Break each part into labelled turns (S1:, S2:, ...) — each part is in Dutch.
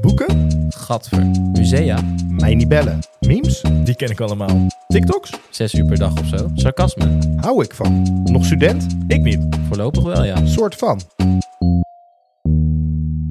S1: Boeken?
S2: Gadver. Musea.
S1: Mij niet bellen. Memes? Die ken ik allemaal. TikToks?
S2: Zes uur per dag of zo. Sarcasme.
S1: Hou ik van. Nog student? Ik niet.
S2: Voorlopig wel, ja.
S1: Soort van.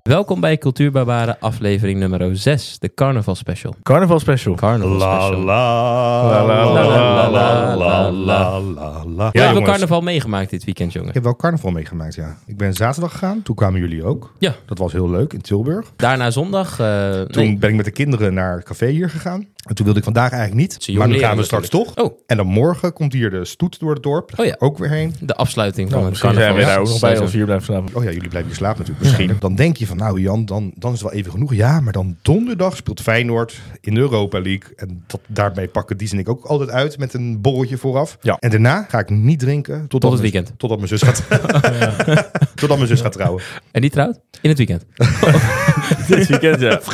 S2: Welkom bij Cultuurbarbaren, aflevering nummer 6, de Carnaval Special.
S3: Carnaval special.
S2: Carnaval Special.
S3: la
S2: la, la, la,
S3: Ja,
S2: la, Ja, ik heb
S3: jongens.
S2: carnaval meegemaakt dit weekend,
S1: Ik
S2: jongen.
S1: heb wel carnaval meegemaakt, ja. Ik ben zaterdag gegaan. Toen kwamen jullie ook.
S2: Ja.
S1: Dat was heel leuk in Tilburg.
S2: Daarna zondag. eh,
S1: Toen
S2: nee.
S1: ben ik met de kinderen naar het café hier gegaan. En toen wilde ik vandaag eigenlijk
S2: Ze
S1: niet.
S2: jong
S1: Maar nu
S2: leren
S1: gaan we straks toch.
S2: Oh,
S1: En dan morgen komt hier de stoet door het dorp. Daar
S2: Oh
S1: ga
S2: ja.
S1: ik Ook weer heen.
S2: de afsluiting van het
S3: Misschien zijn
S2: carnaval.
S3: we daar ook nog bij
S2: seizoen.
S3: als je hier blijft slapen.
S1: Oh ja, jullie blijven hier slapen natuurlijk. Misschien. Dan denk je van, nou Jan, dan, dan is het wel even genoeg. Ja, maar dan donderdag speelt Feyenoord in de Europa League. En dat, daarmee pakken die en ik ook altijd uit met een borreltje vooraf.
S3: Ja.
S1: En daarna ga ik niet drinken totdat
S2: Tot het
S1: mijn-
S2: weekend.
S1: Totdat mijn zus gaat, totdat mijn zus gaat trouwen.
S2: En die trouwt? In het weekend.
S3: Dit weekend, ja.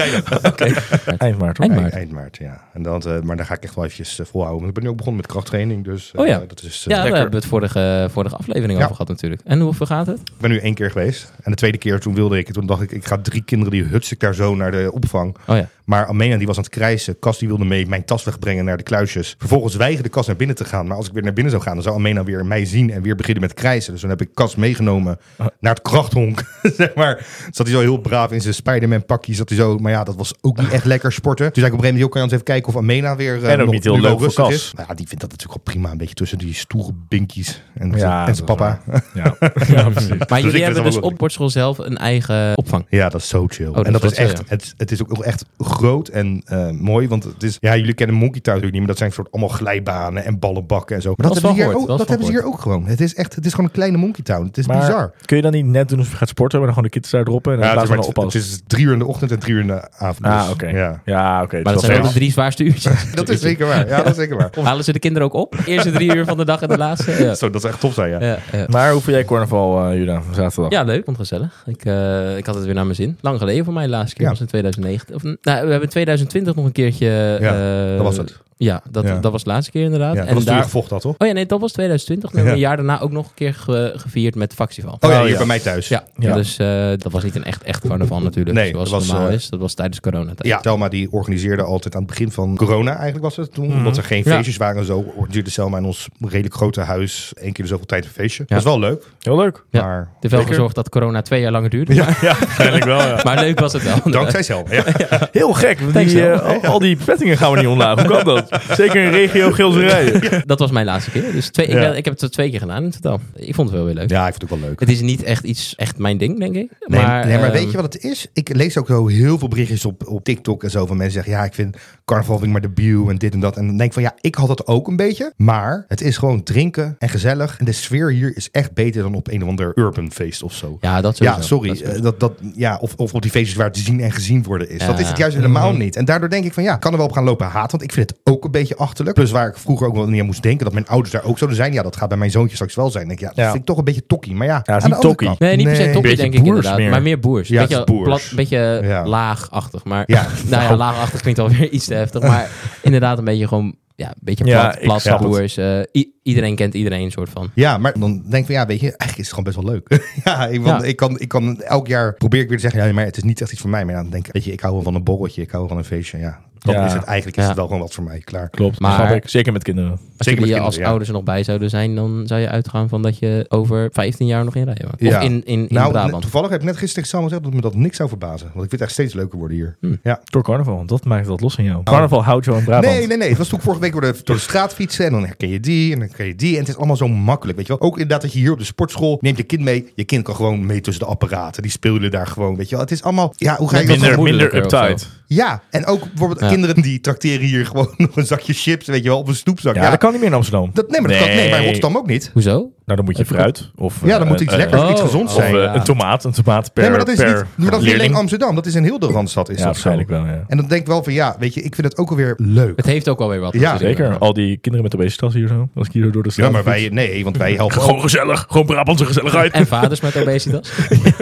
S3: Eind maart, hoor.
S2: Eind maart.
S1: Eind, eind maart, ja. En dan, eh, maar dan ga ik echt wel eventjes eh, volhouden. Want ik ben nu ook begonnen met krachttraining. Dus eh,
S2: Oh ja.
S1: dat is eh,
S2: Ja, daar
S1: lekker.
S2: hebben we het vorige, vorige aflevering
S1: Ja.
S2: over gehad natuurlijk. En hoe gaat het? Oh
S1: Ik ben nu één keer geweest. En de tweede keer toen wilde ik. het. Toen dacht ik, ik ga drie kinderen die huts ik daar zo naar de opvang.
S2: Oh ja.
S1: Maar Amena die was aan het krijsen. Kas die wilde mee mijn tas wegbrengen naar de kluisjes. Vervolgens weigerde Kas naar binnen te gaan. Maar als ik weer naar binnen zou gaan, dan zou Amena weer mij zien en weer beginnen met krijsen. Dus toen heb ik Kas meegenomen
S3: Ah.
S1: naar het krachthonk. zeg maar. Zat hij zo heel braaf in zijn Spider-Man pakje. Zat hij zo. Maar ja, dat was ook niet echt lekker sporten. Toen zei ik op een gegeven moment, "Joh, kan je eens even kijken of Amena weer. eh,
S3: En ook
S1: nog-
S3: niet heel
S1: nu wel
S3: leuk voor
S1: rustig
S3: Kas.
S1: is. Nou, ja, die vindt dat natuurlijk wel prima. Een beetje tussen die stoere binkies en,
S3: Ja,
S1: en zijn
S3: dat is
S1: papa.
S3: Ja. ja, precies.
S1: ik
S2: Maar jullie
S1: vind
S2: hebben
S1: het
S2: dus
S1: wel
S2: op Portschool zelf een eigen opvang.
S1: Ja, dat is zo chill.
S2: Oh, dat
S1: en dat
S2: is
S1: is,
S2: wel
S1: echt,
S2: chill,
S1: het, het is ook wel echt groot en eh, mooi. Want het is, ja, jullie kennen Monkey Town natuurlijk niet, maar dat zijn soort allemaal glijbanen en ballenbakken en zo. Maar
S2: Dat
S1: dat,
S2: is
S1: hebben, ze hier,
S2: wel gehoord,
S1: ook, dat
S2: dat
S1: hebben
S2: is
S1: ze
S2: wel
S1: hier ook gewoon. Het is echt, het is gewoon een kleine Monkey Town. Het is
S3: Maar
S1: bizar.
S3: kun je dan niet net doen alsof je gaat sporten, maar dan gewoon de kids daar droppen en dan
S1: Ja, het,
S3: plaats
S1: is
S3: van
S1: maar-
S3: een oppas?
S1: het is drie uur in de ochtend en drie uur in de avond.
S3: Ah,
S1: dus,
S3: oké.
S1: Ja.
S3: Ja, oké.
S2: Maar dat
S3: dus
S2: zijn wel de
S3: wel-
S2: drie zwaarste uurtjes.
S1: Dat is zeker waar. Ja, dat is zeker waar.
S2: Halen ze de kinderen ook op? Eerste drie uur van de dag en de laatste? Ja.
S1: Zo, dat is echt tof zijn, ja.
S2: Ja, ja.
S3: Maar hoe vind jij carnaval, eh, Juda, van zaterdag?
S2: Ja, leuk, vond het gezellig. Ik, eh, ik had het weer naar mijn zin. Lang geleden voor mij, de laatste keer
S1: Ja.
S2: was in 2009. Of, nou, we hebben in 2020 nog een keertje...
S1: Ja,
S2: eh,
S1: dat was het.
S2: Ja, dat,
S1: Ja.
S2: dat was de laatste keer inderdaad.
S1: ja dat
S2: en
S1: was toen je
S2: daar...
S1: gevochten had, toch?
S2: Oh ja, nee, dat was 2020. Dan hebben we
S1: Ja.
S2: Een jaar daarna ook nog een keer ge- gevierd met Factival.
S1: Oh ja,
S3: Oh,
S1: hier
S3: ja.
S1: bij mij thuis.
S2: Ja,
S3: Ja.
S2: dus eh, dat was niet een echt, echt carnaval natuurlijk,
S1: Nee,
S2: zoals
S1: dat was,
S2: het normaal
S1: eh,
S2: is. Dat was tijdens coronatijd.
S1: Ja, Telma die organiseerde altijd aan het begin van corona eigenlijk was het toen. Omdat er geen
S2: Ja.
S1: feestjes waren en zo organiseerde Selma in ons redelijk grote huis één keer de zoveel tijd een feestje.
S2: Ja.
S1: Dat is wel leuk,
S3: Heel leuk.
S2: Ja.
S1: maar
S2: Het heeft wel
S3: Zeker.
S2: gezorgd dat corona twee jaar langer duurde. Maar,
S3: Ja, waarschijnlijk wel, ja.
S2: maar leuk was het wel.
S1: dankzij Selma. Ja.
S3: Heel gek. want
S2: Thanks,
S3: Die,
S2: hè?
S3: eh, al, al die pettingen gaan we niet omlaag. Hoe kan dat? Zeker in regio Gilserijen.
S2: Dat was mijn laatste keer. Dus twee, ik,
S3: Ja.
S2: ben- ik heb het twee keer gedaan in totaal. Ik vond het wel weer leuk.
S1: ja, ik vond het ook wel leuk.
S2: Het is niet echt iets, echt mijn ding, denk ik.
S1: Nee,
S2: maar,
S1: maar, nee, maar
S2: ehm,
S1: weet je wat het is? Ik lees ook zo heel veel berichtjes op, op TikTok en zo van mensen zeggen... ja, ik vind carnaval vind ik maar de biel en dit en dat. En dan denk ik van ja, ik had dat ook een beetje. Maar het is gewoon drinken en gezellig. En de sfeer hier is echt beter dan op een of ander urban feest of zo.
S2: Ja, dat sowieso.
S1: Ja, sorry.
S2: Dat is-
S1: eh, Dat, dat, ja, of, of op die feestjes waar het te zien en gezien worden is. Dat
S2: Ja. Mhm.
S1: is het juist helemaal niet. En daardoor denk ik van ja, ik kan er wel op gaan lopen haat. Want ik vind het ook een beetje achterlijk. Plus waar ik vroeger ook wel niet aan moest denken dat mijn ouders daar ook zouden zijn. Ja, dat gaat bij mijn zoontje straks wel zijn. Dan Denk ik, ja, dat
S3: Ja.
S1: vind ik toch een beetje tokkie. Maar ja,
S3: is niet
S1: aan de andere
S3: tokkie.
S1: kant-
S2: Nee, niet per se toppie,
S3: Beetje
S2: denk ik
S3: boers
S2: inderdaad.
S3: meer.
S2: Maar meer boers.
S1: Ja,
S2: beetje
S1: het is boers.
S2: Plat, beetje
S1: Ja.
S2: laagachtig. Maar,
S1: Ja.
S2: nou ja, laagachtig klinkt alweer iets te heftig. Maar inderdaad een beetje gewoon... Ja, een beetje
S3: Ja,
S2: plat,
S3: ik
S2: plat,
S3: snap het.
S2: boers. eh, i- iedereen kent iedereen, soort van.
S1: Ja, maar dan denk ik van ja, weet je, eigenlijk is het gewoon best wel leuk. ja, ik, want
S2: Ja.
S1: Ik, kan, ik kan elk jaar probeer ik weer te zeggen, ja, maar het is niet echt iets voor mij. Maar ja, dan denk ik, weet je, ik hou wel van een borreltje, ik hou wel van een feestje. Ja, dat
S3: Ja.
S1: is het. Eigenlijk is
S2: Ja.
S1: het wel gewoon wat voor mij, klaar.
S3: Klopt,
S2: Maar-
S3: snap ik. Zeker met kinderen.
S2: Als
S1: Zeker
S2: jullie
S1: met
S2: als
S1: kinderen, ja.
S2: ouders er nog bij zouden zijn, dan zou je uitgaan van dat je over 15 jaar nog in rijden mag. Of
S1: Ja.
S2: in, in, in
S1: nou, net-
S2: Brabant.
S1: toevallig heb ik net gisteren tegen Sam gezegd dat me dat niks zou verbazen. Want ik vind het echt steeds leuker worden hier.
S2: Hmm.
S3: Door carnaval, want dat maakt dat los in jou. Carnaval houdt jou in Brabant.
S1: Nee, nee, nee. Het was toen ik vorige week door de, door de straat fietsen. En dan herken je die en dan herken je die. En het is allemaal zo makkelijk, weet je wel. Ook inderdaad dat je hier op de sportschool neemt je kind mee. Je kind kan gewoon mee tussen de apparaten. Die spelen daar gewoon, weet je wel. Het is allemaal, ja, hoe ga je dat
S2: Minder-
S3: minder,
S2: minder
S3: minder
S2: uptight.
S3: uptight.
S1: Ja, en ook bijvoorbeeld
S2: Ja.
S1: kinderen die tracteren hier gewoon nog een zakje chips, weet je wel, op een snoepzak.
S3: Ja,
S1: Ja,
S3: dat kan niet meer in Amsterdam.
S1: dat, nee, maar dat kan nee, bij
S3: Nee.
S1: Rotterdam ook niet.
S2: Hoezo?
S3: Nou, dan moet je
S2: Even
S3: fruit. Of,
S1: Ja,
S3: eh,
S1: dan moet
S3: eh,
S1: iets
S3: eh,
S1: lekkers,
S2: oh.
S1: iets gezonds
S3: Of
S1: zijn.
S3: eh,
S2: ja.
S3: een tomaat. Een tomaat per
S1: nee, maar dat is
S3: per
S1: niet, maar dat is niet alleen
S3: leerling.
S1: Amsterdam, dat is in heel de Randstad. Is
S3: Ja,
S1: dat zo.
S3: waarschijnlijk wel, ja.
S1: En dan denk ik wel van, ja, weet je, ik vind het ook alweer leuk.
S2: Het heeft ook wel weer wat.
S1: Ja,
S2: natuurlijk.
S3: Zeker. Al die kinderen met obesitas hier zo. Als ik hier door de straat
S1: Ja, maar
S3: fiets.
S1: wij, nee, want wij helpen ook.
S3: Gewoon gezellig. Gewoon Brabantse gezelligheid.
S2: En vaders met obesitas.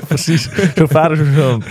S3: precies. Zo'n vader, zo'n zoon.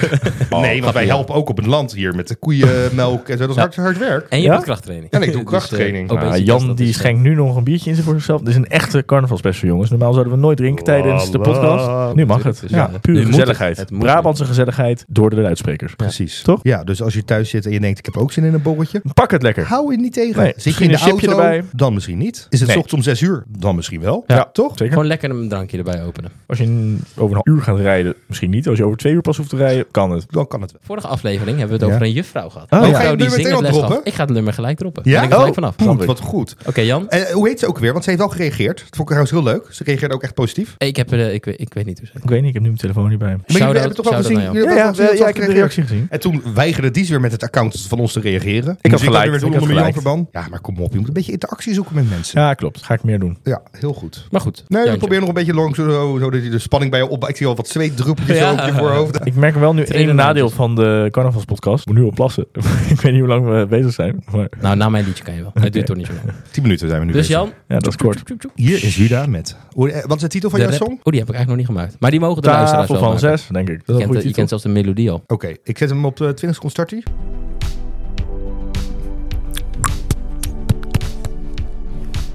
S1: Nee, want wij
S2: ja.
S1: helpen ook op het land hier met de koeienmelk en zo. Dat is
S2: Ja.
S1: hard, hard werk.
S2: En je
S3: Ja?
S2: doet krachttraining.
S1: En ik doe
S2: Dus, eh,
S1: krachttraining. Ah,
S3: Nou,
S2: obesitas,
S3: Jan
S2: dat
S3: die
S2: is, eh,
S3: schenkt nu nog een biertje in voor zichzelf. Dit is een echte carnavalspecial, jongens.
S4: jongens. Normaal zouden we nooit drinken tijdens de podcast.
S1: Voilà.
S4: Nu mag het.
S2: Dus
S4: Ja,
S2: ja,
S3: Nu
S4: pure
S3: moet
S4: gezelligheid.
S3: gezelligheid.
S2: Het moet
S4: Brabantse gezelligheid door de luidsprekers.
S1: Precies.
S4: Toch?
S1: Ja, dus als je thuis zit en je denkt, ik heb ook zin in een borreltje.
S4: Pak het lekker.
S1: Hou je niet tegen.
S4: Nee,
S1: zit je in
S4: misschien
S1: de
S4: een chipje
S1: auto?
S4: erbij.
S1: Dan misschien niet. Is het
S4: Nee.
S1: ochtends om zes uur? Dan misschien wel.
S4: Ja,
S1: toch?
S4: Zeker.
S2: Gewoon lekker een drankje erbij openen.
S4: Als je een- over een uur gaat rijden, misschien niet. Als je over twee uur pas hoeft te rijden, kan het.
S1: Dan kan het wel.
S2: Vorige aflevering hebben we het
S1: Ja.
S2: over een juffrouw gehad.
S4: Oh,
S2: Een
S4: ja.
S1: Ga je het
S2: juffrouw
S1: nummer
S2: die
S1: meteen al
S2: zingersles gaf.
S1: droppen?
S2: Ik ga het nummer gelijk droppen.
S1: Ja?
S2: Ben ik er gelijk
S4: Oh.
S2: vanaf.
S1: Poeh,
S4: snap ik.
S1: wat goed.
S2: Oké, Jan.
S1: En eh, hoe heet ze ook weer? Want ze heeft wel gereageerd. Dat vond ik trouwens heel leuk. Ze reageerde ook echt positief.
S2: Ik, heb, eh, ik, weet- ik weet niet hoe ze
S4: Ik weet niet, ik heb nu mijn telefoon niet bij hem.
S1: Maar jullie
S2: Shout-out-
S1: hebben toch wel
S2: shout-out
S1: gezien?
S2: naar jou.
S1: jullie hebben wel gezien dat ze had gereageerd?
S4: gezien.
S1: En toen weigerde die ze weer met het account van ons te reageren. Dus
S3: had
S1: Muziek
S3: gelijk,
S1: weer doen
S3: ik had
S1: onder Milan
S3: gelijk.
S1: Verban. Ja, maar kom op. Je moet een beetje interactie zoeken met mensen. Ja,
S4: Ja, klopt. Ga ik meer doen.
S1: heel goed.
S2: Maar goed.
S1: Nee,
S2: Jantje.
S1: ik probeer nog een beetje lang zo, zo, zodat je de spanning bij je opbouwt. Ik zie al wat zweetdruppeltjes
S2: Ja.
S1: zo op je voorhoofd.
S4: Ik merk wel nu één
S2: Trainen
S4: nadeel van de carnavalspodcast. Ik moet nu al plassen. ik weet niet hoe lang we bezig zijn. Maar
S2: Nou, na mijn liedje kan je wel. Het duurt toch niet zo lang.
S1: Tien minuten zijn we nu
S2: Dus
S1: bezig.
S2: Jan.
S4: ja, dat is kort.
S2: tjoep, tjoep, tjoep.
S1: Hier is Juda met... Hoe- eh, Wat is de titel van
S2: De
S1: jouw
S2: rap-
S1: song?
S2: Oh, die heb ik eigenlijk nog niet gemaakt. Maar die mogen de luisteraars
S4: Tafel
S2: wel
S4: van
S2: maken.
S4: zes, denk ik. Dat
S2: Je
S4: is een
S2: kent,
S4: goede
S2: je kent
S4: titel.
S2: zelfs de melodie al.
S1: Oké, ik zet hem op eh, 20 seconden startie.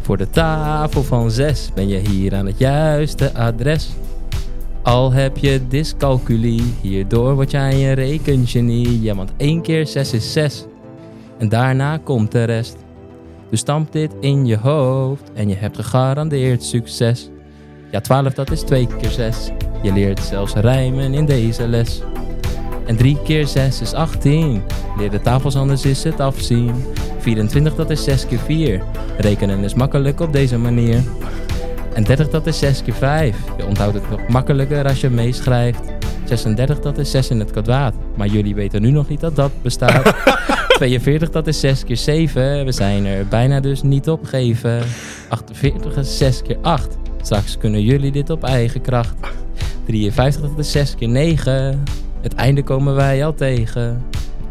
S2: Voor de tafel van 6 ben je hier aan het juiste adres. Al heb je dyscalculie, hierdoor word jij een rekengenie. Ja, want 1 keer 6 is 6. En daarna komt de rest. Dus stamp dit in je hoofd en je hebt gegarandeerd succes. Ja, 12 dat is 2 keer 6. Je leert zelfs rijmen in deze les. En 3 keer 6 is 18. Leer de tafels, anders is het afzien. 24, dat is 6 keer 4. Rekenen is makkelijk op deze manier. En 30, dat is 6 keer 5. Je onthoudt het nog makkelijker als je meeschrijft. 36, dat is 6 in het kwadraat. Maar jullie weten nu nog niet dat dat bestaat. 42, dat is 6 keer 7. We zijn er bijna dus niet opgeven. 48 is 6 keer 8. Straks kunnen jullie dit op eigen kracht. 53, dat is 6 keer 9. Het einde komen wij al tegen.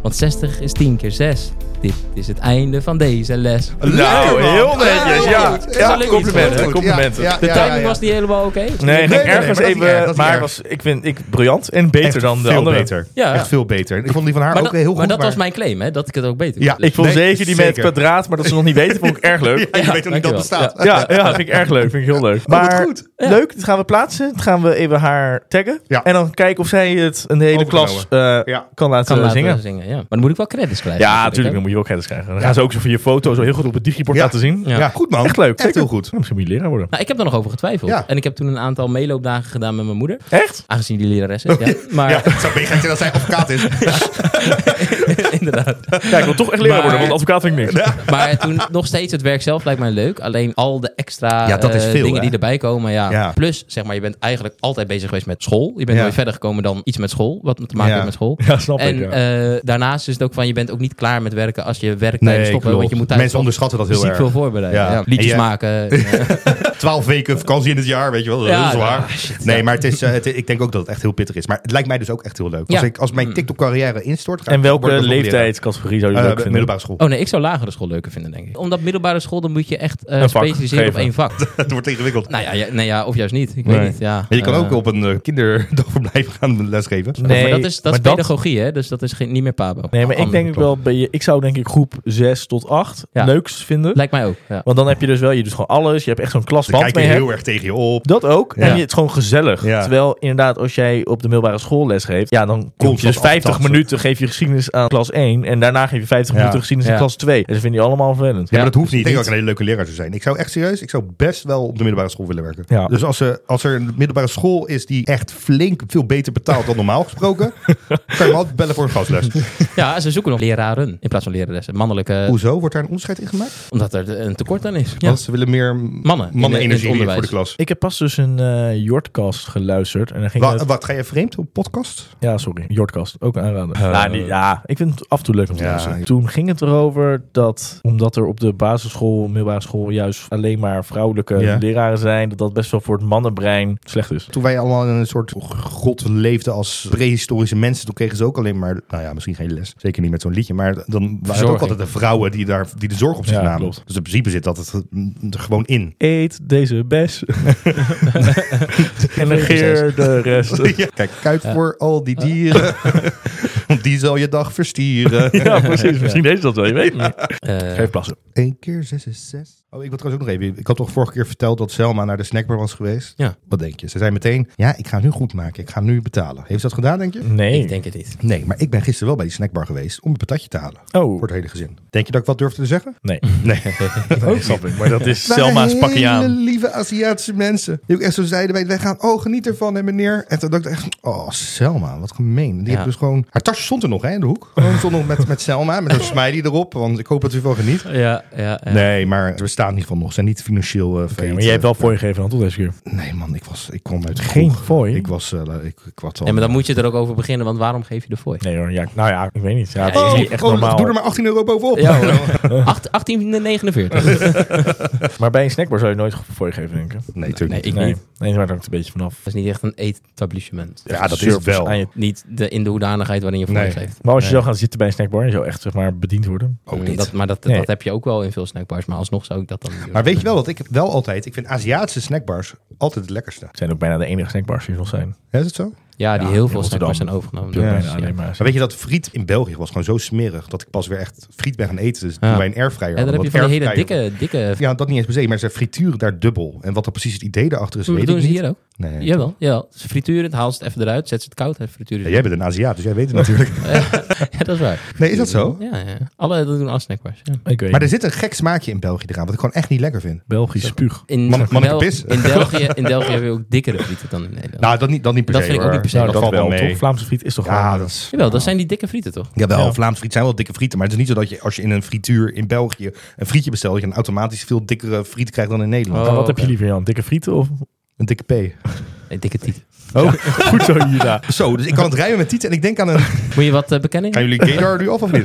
S2: Want 60 is 10 keer 6. Dit is het einde van deze les.
S1: Lekker,
S3: Nou,
S1: man.
S3: heel netjes.
S1: heel
S3: Ja,
S1: goed.
S3: ja,
S1: Heel goed.
S3: complimenten.
S1: Heel goed.
S3: complimenten.
S1: Ja, ja,
S2: De
S1: ja,
S2: timing
S1: ja, ja.
S2: was niet helemaal oké.
S4: Nee,
S1: Nee,
S4: ging
S1: nee,
S4: ergens
S1: nee, maar dat is niet
S4: even.
S1: erg, dat is
S4: maar
S1: niet
S4: was, ik vind ik briljant en beter
S1: Echt
S4: dan de
S1: veel
S4: andere.
S1: beter.
S2: Ja.
S1: Echt veel beter. En Ik vond die van haar
S2: Maar,
S1: ook
S2: dat-
S1: heel goed.
S2: maar dat was mijn claim, hè? dat ik het ook beter
S1: Ja,
S2: kon.
S4: Ik vond
S1: Nee,
S4: zeker die met
S1: zeker.
S4: kwadraat, maar dat ze nog niet weten, vond ik erg leuk.
S1: Ja, je weet ook niet dat
S2: dankjewel.
S1: het bestaat.
S4: Ja, ja, vind ik erg leuk. Vind ik heel leuk.
S1: wat
S4: Maar
S1: goed.
S2: Ja.
S4: leuk, dit gaan we plaatsen. Dat gaan we even haar taggen.
S1: Ja.
S4: En dan kijken of zij het een hele klas
S1: Overgenomen.
S4: eh,
S1: Ja.
S4: kan laten
S2: kan laten
S4: zingen.
S2: zingen ja. Maar dan moet ik wel credits krijgen.
S4: Ja, natuurlijk.
S2: hè.
S4: Dan moet je ook kennis krijgen. Dan gaan ze ook zo van je foto zo heel goed op het digibord
S1: Ja.
S4: laten zien. Nou,
S1: Ja.
S2: Ja.
S1: goed man.
S4: Echt leuk.
S1: Echt
S4: zeker.
S1: heel goed.
S4: Ja, misschien moet je leraar worden.
S2: Nou, ik heb daar nog over getwijfeld.
S1: Ja.
S2: En ik heb toen een aantal meeloopdagen gedaan met mijn moeder.
S4: Echt?
S2: Aangezien die lerares is. Ja. Maar
S1: Ja, het zou mega gek zijn als hij advocaat is.
S2: inderdaad.
S4: Ja, ik wil toch echt leraar
S2: Maar-
S4: worden, want advocaat vind ik niks.
S2: Maar toen nog steeds het werk zelf lijkt mij leuk. Alleen al de extra
S1: Ja, dat is
S2: eh,
S1: veel,
S2: dingen
S1: hè?
S2: die erbij komen. Ja.
S1: Ja.
S2: Plus, zeg maar, je bent eigenlijk altijd bezig geweest met school. Je bent
S1: Ja.
S2: nooit verder gekomen dan iets met school. Wat te maken
S1: Ja.
S2: heeft met school.
S4: Ja, snap
S2: En
S4: ik. Ja.
S2: eh, daarnaast is het ook van, je bent ook niet klaar met werken als je werkt tijdens stoppen.
S1: klopt.
S2: Want je moet Dus thuis
S1: Mensen onderschatten dat heel
S2: fysiek veel
S1: erg.
S2: voorbereiden.
S1: Ja.
S2: Ja. Liedjes
S1: En je-
S2: maken. eh,
S1: Twaalf weken vakantie in het jaar, weet je wel. Dat is
S2: Ja,
S1: heel zwaar.
S2: ja, shit,
S1: nee,
S2: ja.
S1: maar het is, eh, het- ik denk ook dat het echt heel pittig is. Maar het lijkt mij dus ook echt heel leuk. Als,
S2: Ja. Mm.
S1: ik, als mijn TikTok-carrière instort... ga
S4: En
S1: ik- word ik
S4: welke
S1: ook nog leraar.
S4: leeftijdscategorie zou je
S1: Eh,
S4: leuk vinden?
S1: middelbare school.
S2: Oh nee, ik zou lagere school leuker vinden, denk ik. Omdat middelbare school, dan moet je echt eh,
S4: Een vak
S2: specialiseren op
S4: geven.
S2: één vak.
S1: Het wordt ingewikkeld.
S2: nou ja, ja, nee, ja, of juist niet. Ik
S4: Nee.
S2: weet niet, ja.
S1: Ja, je kan
S2: Eh,
S1: ook op een eh, kinderdagverblijf gaan lesgeven.
S4: Nee,
S2: maar dat is, dat is
S4: maar dat-
S2: pedagogie, hè? Dus dat is geen, niet meer Pabo.
S4: Nee, maar ik
S2: Ander,
S4: denk ook
S2: toch?
S4: wel bij je... Ik zou denk ik groep 6 tot 8
S2: Ja.
S4: leuks vinden.
S2: Lijkt mij ook. Ja.
S4: Want dan heb je dus wel... Je doet gewoon alles. Je hebt echt zo'n
S1: Ze
S4: klasband
S1: kijken
S4: mee.
S1: heel erg tegen je op.
S4: Dat ook.
S1: Ja.
S4: En je, het is gewoon gezellig.
S1: Ja.
S4: Terwijl inderdaad, als jij op de middelbare school les geeft, ja, dan komt je
S1: Constant
S4: dus 50
S1: aftasten.
S4: minuten geef je geschiedenis aan klas 1 en daarna geef je 50
S1: Ja.
S4: minuten geschiedenis aan
S2: Ja.
S4: klas 2. En ze vinden die allemaal vervelend.
S1: Ja, maar dat hoeft niet. Ik denk dat
S4: Niet.
S1: ik een hele leuke leraar zou zijn. Ik zou echt serieus, ik zou best wel op de middelbare school willen werken.
S4: Ja.
S1: Dus als, er- als er een middelbare school is die echt flink veel beter betaalt dan normaal gesproken, kan je me altijd bellen voor een gastles.
S2: ja, ze zoeken nog leraren in plaats van leraressen. Mannelijke,
S1: Hoezo? Wordt daar een onderscheid in gemaakt?
S2: omdat er een tekort aan is. Ja.
S1: Want ze willen meer
S2: Mannen. in- in het
S1: energie
S2: onderwijs.
S1: voor de klas.
S4: Ik heb pas dus een eh Jordcast geluisterd. En dan ging
S1: Wa-
S4: het,
S1: wat, ga je vreemd op podcast?
S4: ja, sorry. Jordcast. Ook aanraden. nou, die- ja, ik vind het af en toe leuk om te
S1: Eh. Ja.
S4: luisteren. Toen ging het erover dat, omdat er op de basisschool, middelbare school, juist alleen maar vrouwelijke
S1: Ja.
S4: leraren zijn, dat dat best wel voor het mannenbrein slecht is.
S1: Toen wij allemaal in een soort god leefden als prehistorische mensen, toen kregen ze ook alleen maar, nou ja, misschien geen les. Zeker niet met zo'n liedje, maar dan waren het ook
S2: Verzorging.
S1: altijd de vrouwen die, daar, die de zorg op zich
S4: Ja,
S1: namen.
S4: klopt.
S1: Dus in principe zit dat het eh, er gewoon in.
S4: Eet deze bes. en negeer de rest.
S1: Ja. Kijk uit voor al die dieren. Want die zal je dag verstieren.
S4: Ja, precies. Misschien is dat wel, je weet het niet.
S2: Eh,
S4: Geef plassen.
S1: 1 keer 6 is 6. Oh, ik wil trouwens ook nog even. Ik had toch vorige keer verteld dat Selma naar de snackbar was geweest?
S2: Ja.
S1: Wat denk je? Ze zei meteen: Ja, ik ga het nu goed maken. Ik ga nu betalen. Heeft ze dat gedaan, denk je?
S4: Nee.
S2: Ik denk het niet.
S1: Nee, maar ik ben gisteren wel bij die snackbar geweest om een patatje te halen.
S4: Oh,
S1: Voor het hele gezin. Denk je dat ik wat durfde te zeggen?
S4: nee.
S1: Nee.
S3: Ook snap ik. Maar dat is
S1: Het waren
S3: Selma's pakje
S1: Hele
S3: aan.
S1: lieve Aziatische mensen. Die ook echt zo zeiden bij het weggaan. Oh, geniet ervan, hè, meneer. En toen dacht ik echt, oh, Selma, wat gemeen. Die
S2: Ja.
S1: heeft dus gewoon... Haar tasje stond er nog, hè, in de hoek. Gewoon stond nog met, met Selma, met een smiley erop. Want ik hoop dat u van geniet.
S2: Ja, ja, ja.
S1: Nee, maar we staan in ieder geval nog. Ze zijn niet financieel eh failliet.
S4: maar jij hebt wel voor je gegeven dan, toch deze keer?
S1: Nee, man, ik, was, ik kwam uit
S4: Geen
S1: Goor.
S4: fooi?
S1: Ik was... eh, ik, ik was al...
S2: Nee, maar dan moet je er ook over beginnen, want waarom geef je de fooi?
S4: Nee hoor, ja, nou ja, ik weet niet. Ja, het
S2: Ja,
S4: is
S2: je-
S4: niet echt normaal.
S1: Oh, Doe er maar 18 euro bovenop.
S2: Ja, hoor. Acht- 1849.
S4: Maar bij een snackbar zou je nooit voor je geven, denk ik.
S1: Nee, natuurlijk
S2: Nee,
S1: niet.
S2: ik
S4: Nee,
S2: niet.
S4: nee daar hangt een beetje vanaf.
S2: Dat is niet echt een eetablissement.
S1: Ja, dat is het wel.
S4: Aan je-
S2: Niet de, in de hoedanigheid waarin je fooi
S1: Nee.
S2: geeft.
S4: Maar als je
S2: Nee.
S4: zou gaan zitten bij een snackbar, je zou echt zeg maar bediend worden.
S1: Ook
S2: Mm,
S1: niet.
S2: Dat, maar dat,
S4: Nee.
S2: dat heb je ook wel in veel snackbars, maar alsnog zou ik dat dan niet doen.
S1: Maar weet je wel dat ik wel altijd... Ik vind Aziatische snackbars altijd het lekkerste.
S4: Het zijn ook bijna de enige snackbars die er nog zijn.
S1: Hè, Is het zo?
S2: Ja, die
S4: Ja,
S2: heel
S4: in
S2: veel snackbars
S4: Rotterdam.
S2: zijn overgenomen.
S1: Ja,
S2: door
S4: bijna
S2: mensen, ja.
S4: alleen maar.
S1: Maar weet je dat friet in België was gewoon zo smerig dat ik pas weer echt friet ben gaan eten. Dus
S2: Ja.
S1: bij een airfryer.
S2: Ja, dan heb
S1: hadden,
S2: je van die
S1: want
S2: hele
S1: airfryer-
S2: dikke... dikke
S1: Ja, dat niet eens per se, maar ze frituren daar dubbel. En wat er precies het idee daarachter is,
S2: Mm, dat
S1: dus weet
S2: doen
S1: ik
S2: ze
S1: niet.
S2: hier ook.
S1: Nee.
S2: Jawel, jawel. Ze frituren het, haal ze het even eruit, zet ze het koud en frituren
S1: Ja,
S2: ze
S1: jij bent een Aziat, dus jij weet het natuurlijk.
S2: het. Ja, dat is waar.
S1: Nee, is dat zo?
S2: Ja, ja. Alle, dat doen alle snackbars. Ja.
S4: Ik weet
S1: Maar
S4: maar
S1: er zit een gek smaakje in België eraan, wat ik gewoon echt niet lekker vind.
S4: Belgisch spuug.
S2: In,
S1: Man- mannelijke
S2: Bel-
S1: pis.
S2: in België, in België hebben we ook dikkere frieten dan in Nederland.
S1: Nou, dat niet, dat niet per
S2: Dat
S1: se,
S2: vind ik ook
S1: hoor.
S2: niet per se. Nou,
S1: dat, valt wel mee.
S4: toch? Vlaamse friet is toch
S1: Ja,
S4: wel-
S1: dat is...
S2: Jawel, dat zijn die dikke frieten toch?
S1: Jawel,
S4: Ja.
S1: Vlaams friet zijn wel dikke frieten, maar het is niet zo dat je als je in een frituur in België een frietje bestelt, dat je een automatisch veel dikkere friet krijgt dan in Nederland.
S4: Maar wat
S2: Oh,
S4: heb
S2: oké.
S4: je liever, Jan? Dikke frieten of...
S1: Een dikke P.
S2: Nee, dikke tieten.
S4: Oh, goed zo, Jura.
S1: Zo, dus ik kan het rijmen met tieten en ik denk aan een...
S2: Moet je wat eh, bekennen?
S1: Gaan jullie Kedar nu af of niet?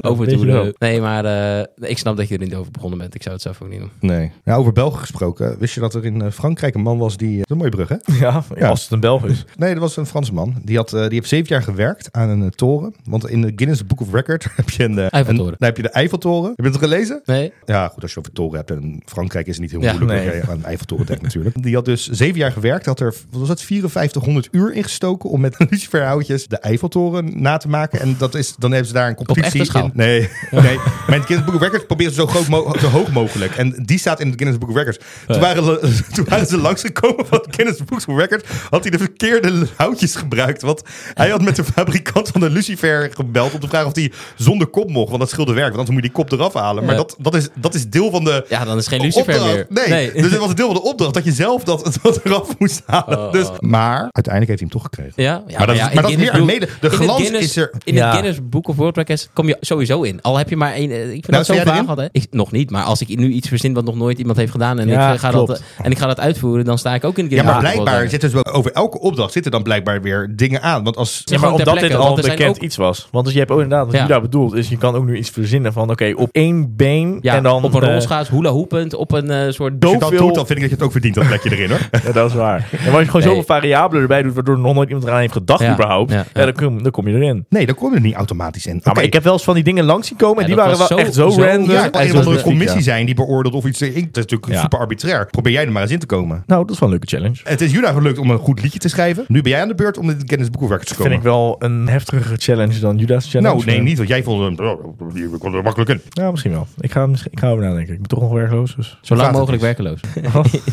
S2: Over
S4: Weet je wel.
S2: toe. Nee, maar eh, ik snap dat je er niet over begonnen bent. Ik zou het zelf ook niet doen.
S1: Nee. Nou, over Belgen gesproken. Wist je dat er in eh, Frankrijk een man was die... Dat is een mooie brug, hè?
S4: Ja,
S1: Ja.
S4: als het een Belg is.
S1: Nee, dat was een Franse man. Die, had, eh, die heeft zeven jaar gewerkt aan een eh, toren. Want in de Guinness Book of Record heb je een... eh,
S2: Eiffeltoren.
S1: een- daar heb je de Eiffeltoren. Heb je het gelezen?
S2: Nee?
S1: Ja, goed, als je over toren hebt. En Frankrijk is het niet heel
S2: Ja,
S1: moeilijk.
S4: nee.
S1: dat jij aan de Eiffeltoren denkt natuurlijk. Die had dus zeven jaar gewerkt. Had er, wat was dat, 5400 uur ingestoken om met luciferhoutjes de Eiffeltoren na te maken. En dat is, dan hebben ze daar een competitie.
S2: echte schaal?
S1: in- nee, nee. Maar in het Guinness Book of Records proberen ze zo, groot mo- zo hoog mogelijk. En die staat in het Guinness Book of Records. Toen waren, le- toen waren ze langsgekomen van het Guinness Book of Records. Had hij de verkeerde houtjes gebruikt. Want hij had met de fabrikant van de lucifer gebeld om te vragen of hij zonder kop mocht. Want dat scheelde werk. Want anders moet je die kop eraf halen. Maar
S2: Ja.
S1: dat, dat, is, dat is deel van de
S2: Ja, dan is geen lucifer meer.
S1: opdracht. Nee. dus het was een deel van de opdracht dat je zelf dat, dat eraf moest halen.
S2: Oh.
S1: Dus, maar uiteindelijk heeft hij hem toch gekregen.
S2: Ja, ja,
S1: maar dat,
S2: ja,
S1: is,
S2: in
S1: maar dat is
S2: Guinness
S1: meer een mede.
S2: Book-
S1: De
S2: in het
S1: glans
S2: Guinness-
S1: is er.
S2: In
S4: Ja.
S2: het Guinness Book of World Records kom je sowieso in. Al heb je maar één. eh, Ik vind
S1: Nou,
S2: dat zo
S1: sta jij
S2: vaag
S1: erin?
S2: altijd. Ik, nog niet, maar als ik nu iets verzin wat nog nooit iemand heeft gedaan en,
S4: Ja,
S2: ik, eh, ga dat,
S4: klopt.
S2: eh, en ik ga dat uitvoeren, dan sta ik ook in het
S1: Ja, maar
S2: Guinness Book of World
S1: blijkbaar
S2: Records.
S1: zitten dus wel- over elke opdracht zitten dan blijkbaar weer dingen aan. Want als
S4: Ja, maar
S2: gewoon ter
S4: omdat dit
S2: plekke,
S4: al
S2: want
S4: een
S2: er zijn
S4: bekend
S2: ook-
S4: iets was. Want dus je hebt ook inderdaad, wat
S2: Ja.
S4: Jura bedoelt, is je kan ook nu iets verzinnen van, oké, op één been
S2: Ja,
S4: en dan...
S2: op een
S4: eh,
S2: rolschaats, hula hoepend, op een eh, soort
S1: je dat
S4: zoveel-
S1: doet, dan vind ik dat je het ook verdient, dat plekje erin hoor.
S4: Ja, dat is waar. En als je gewoon
S2: Nee.
S4: zoveel variabelen erbij doet, waardoor nog nooit iemand eraan heeft gedacht
S2: Ja,
S4: überhaupt,
S2: ja,
S4: ja,
S2: ja.
S4: dan, kom, dan kom je erin.
S1: Nee, dan kom je er niet automatisch in.
S4: Ja,
S1: Oké.
S4: maar ik heb wel eens van die dingen langs zien komen en
S2: Ja,
S4: die
S2: dat
S4: waren wel
S2: was
S4: echt
S2: zo-
S4: zo,
S2: zo-
S4: random.
S1: ja, het
S4: en
S1: mag een
S4: zo
S1: of andere
S4: specifiek,
S1: commissie
S4: ja.
S1: zijn die beoordeelt of iets. eh, Ik- Dat is natuurlijk
S4: Ja.
S1: super arbitrair. Probeer jij er maar eens in te komen.
S4: Nou, dat is wel een leuke challenge.
S1: Het is Juna gelukt om een goed liedje te schrijven. Nu ben jij aan de beurt om in het Guinness Book of Records te komen.
S4: Vind ik wel een heftigere challenge dan Judas challenge.
S1: nou, nee,
S4: maar-
S1: niet, want jij vond hem. oh, Je kon er makkelijk in.
S4: Ja, Nou, misschien wel. Ik ga, misschien- ik ga over nadenken. Ik ben toch nog werkloos, dus...
S2: Zo lang
S1: Gaat het
S2: mogelijk werkeloos.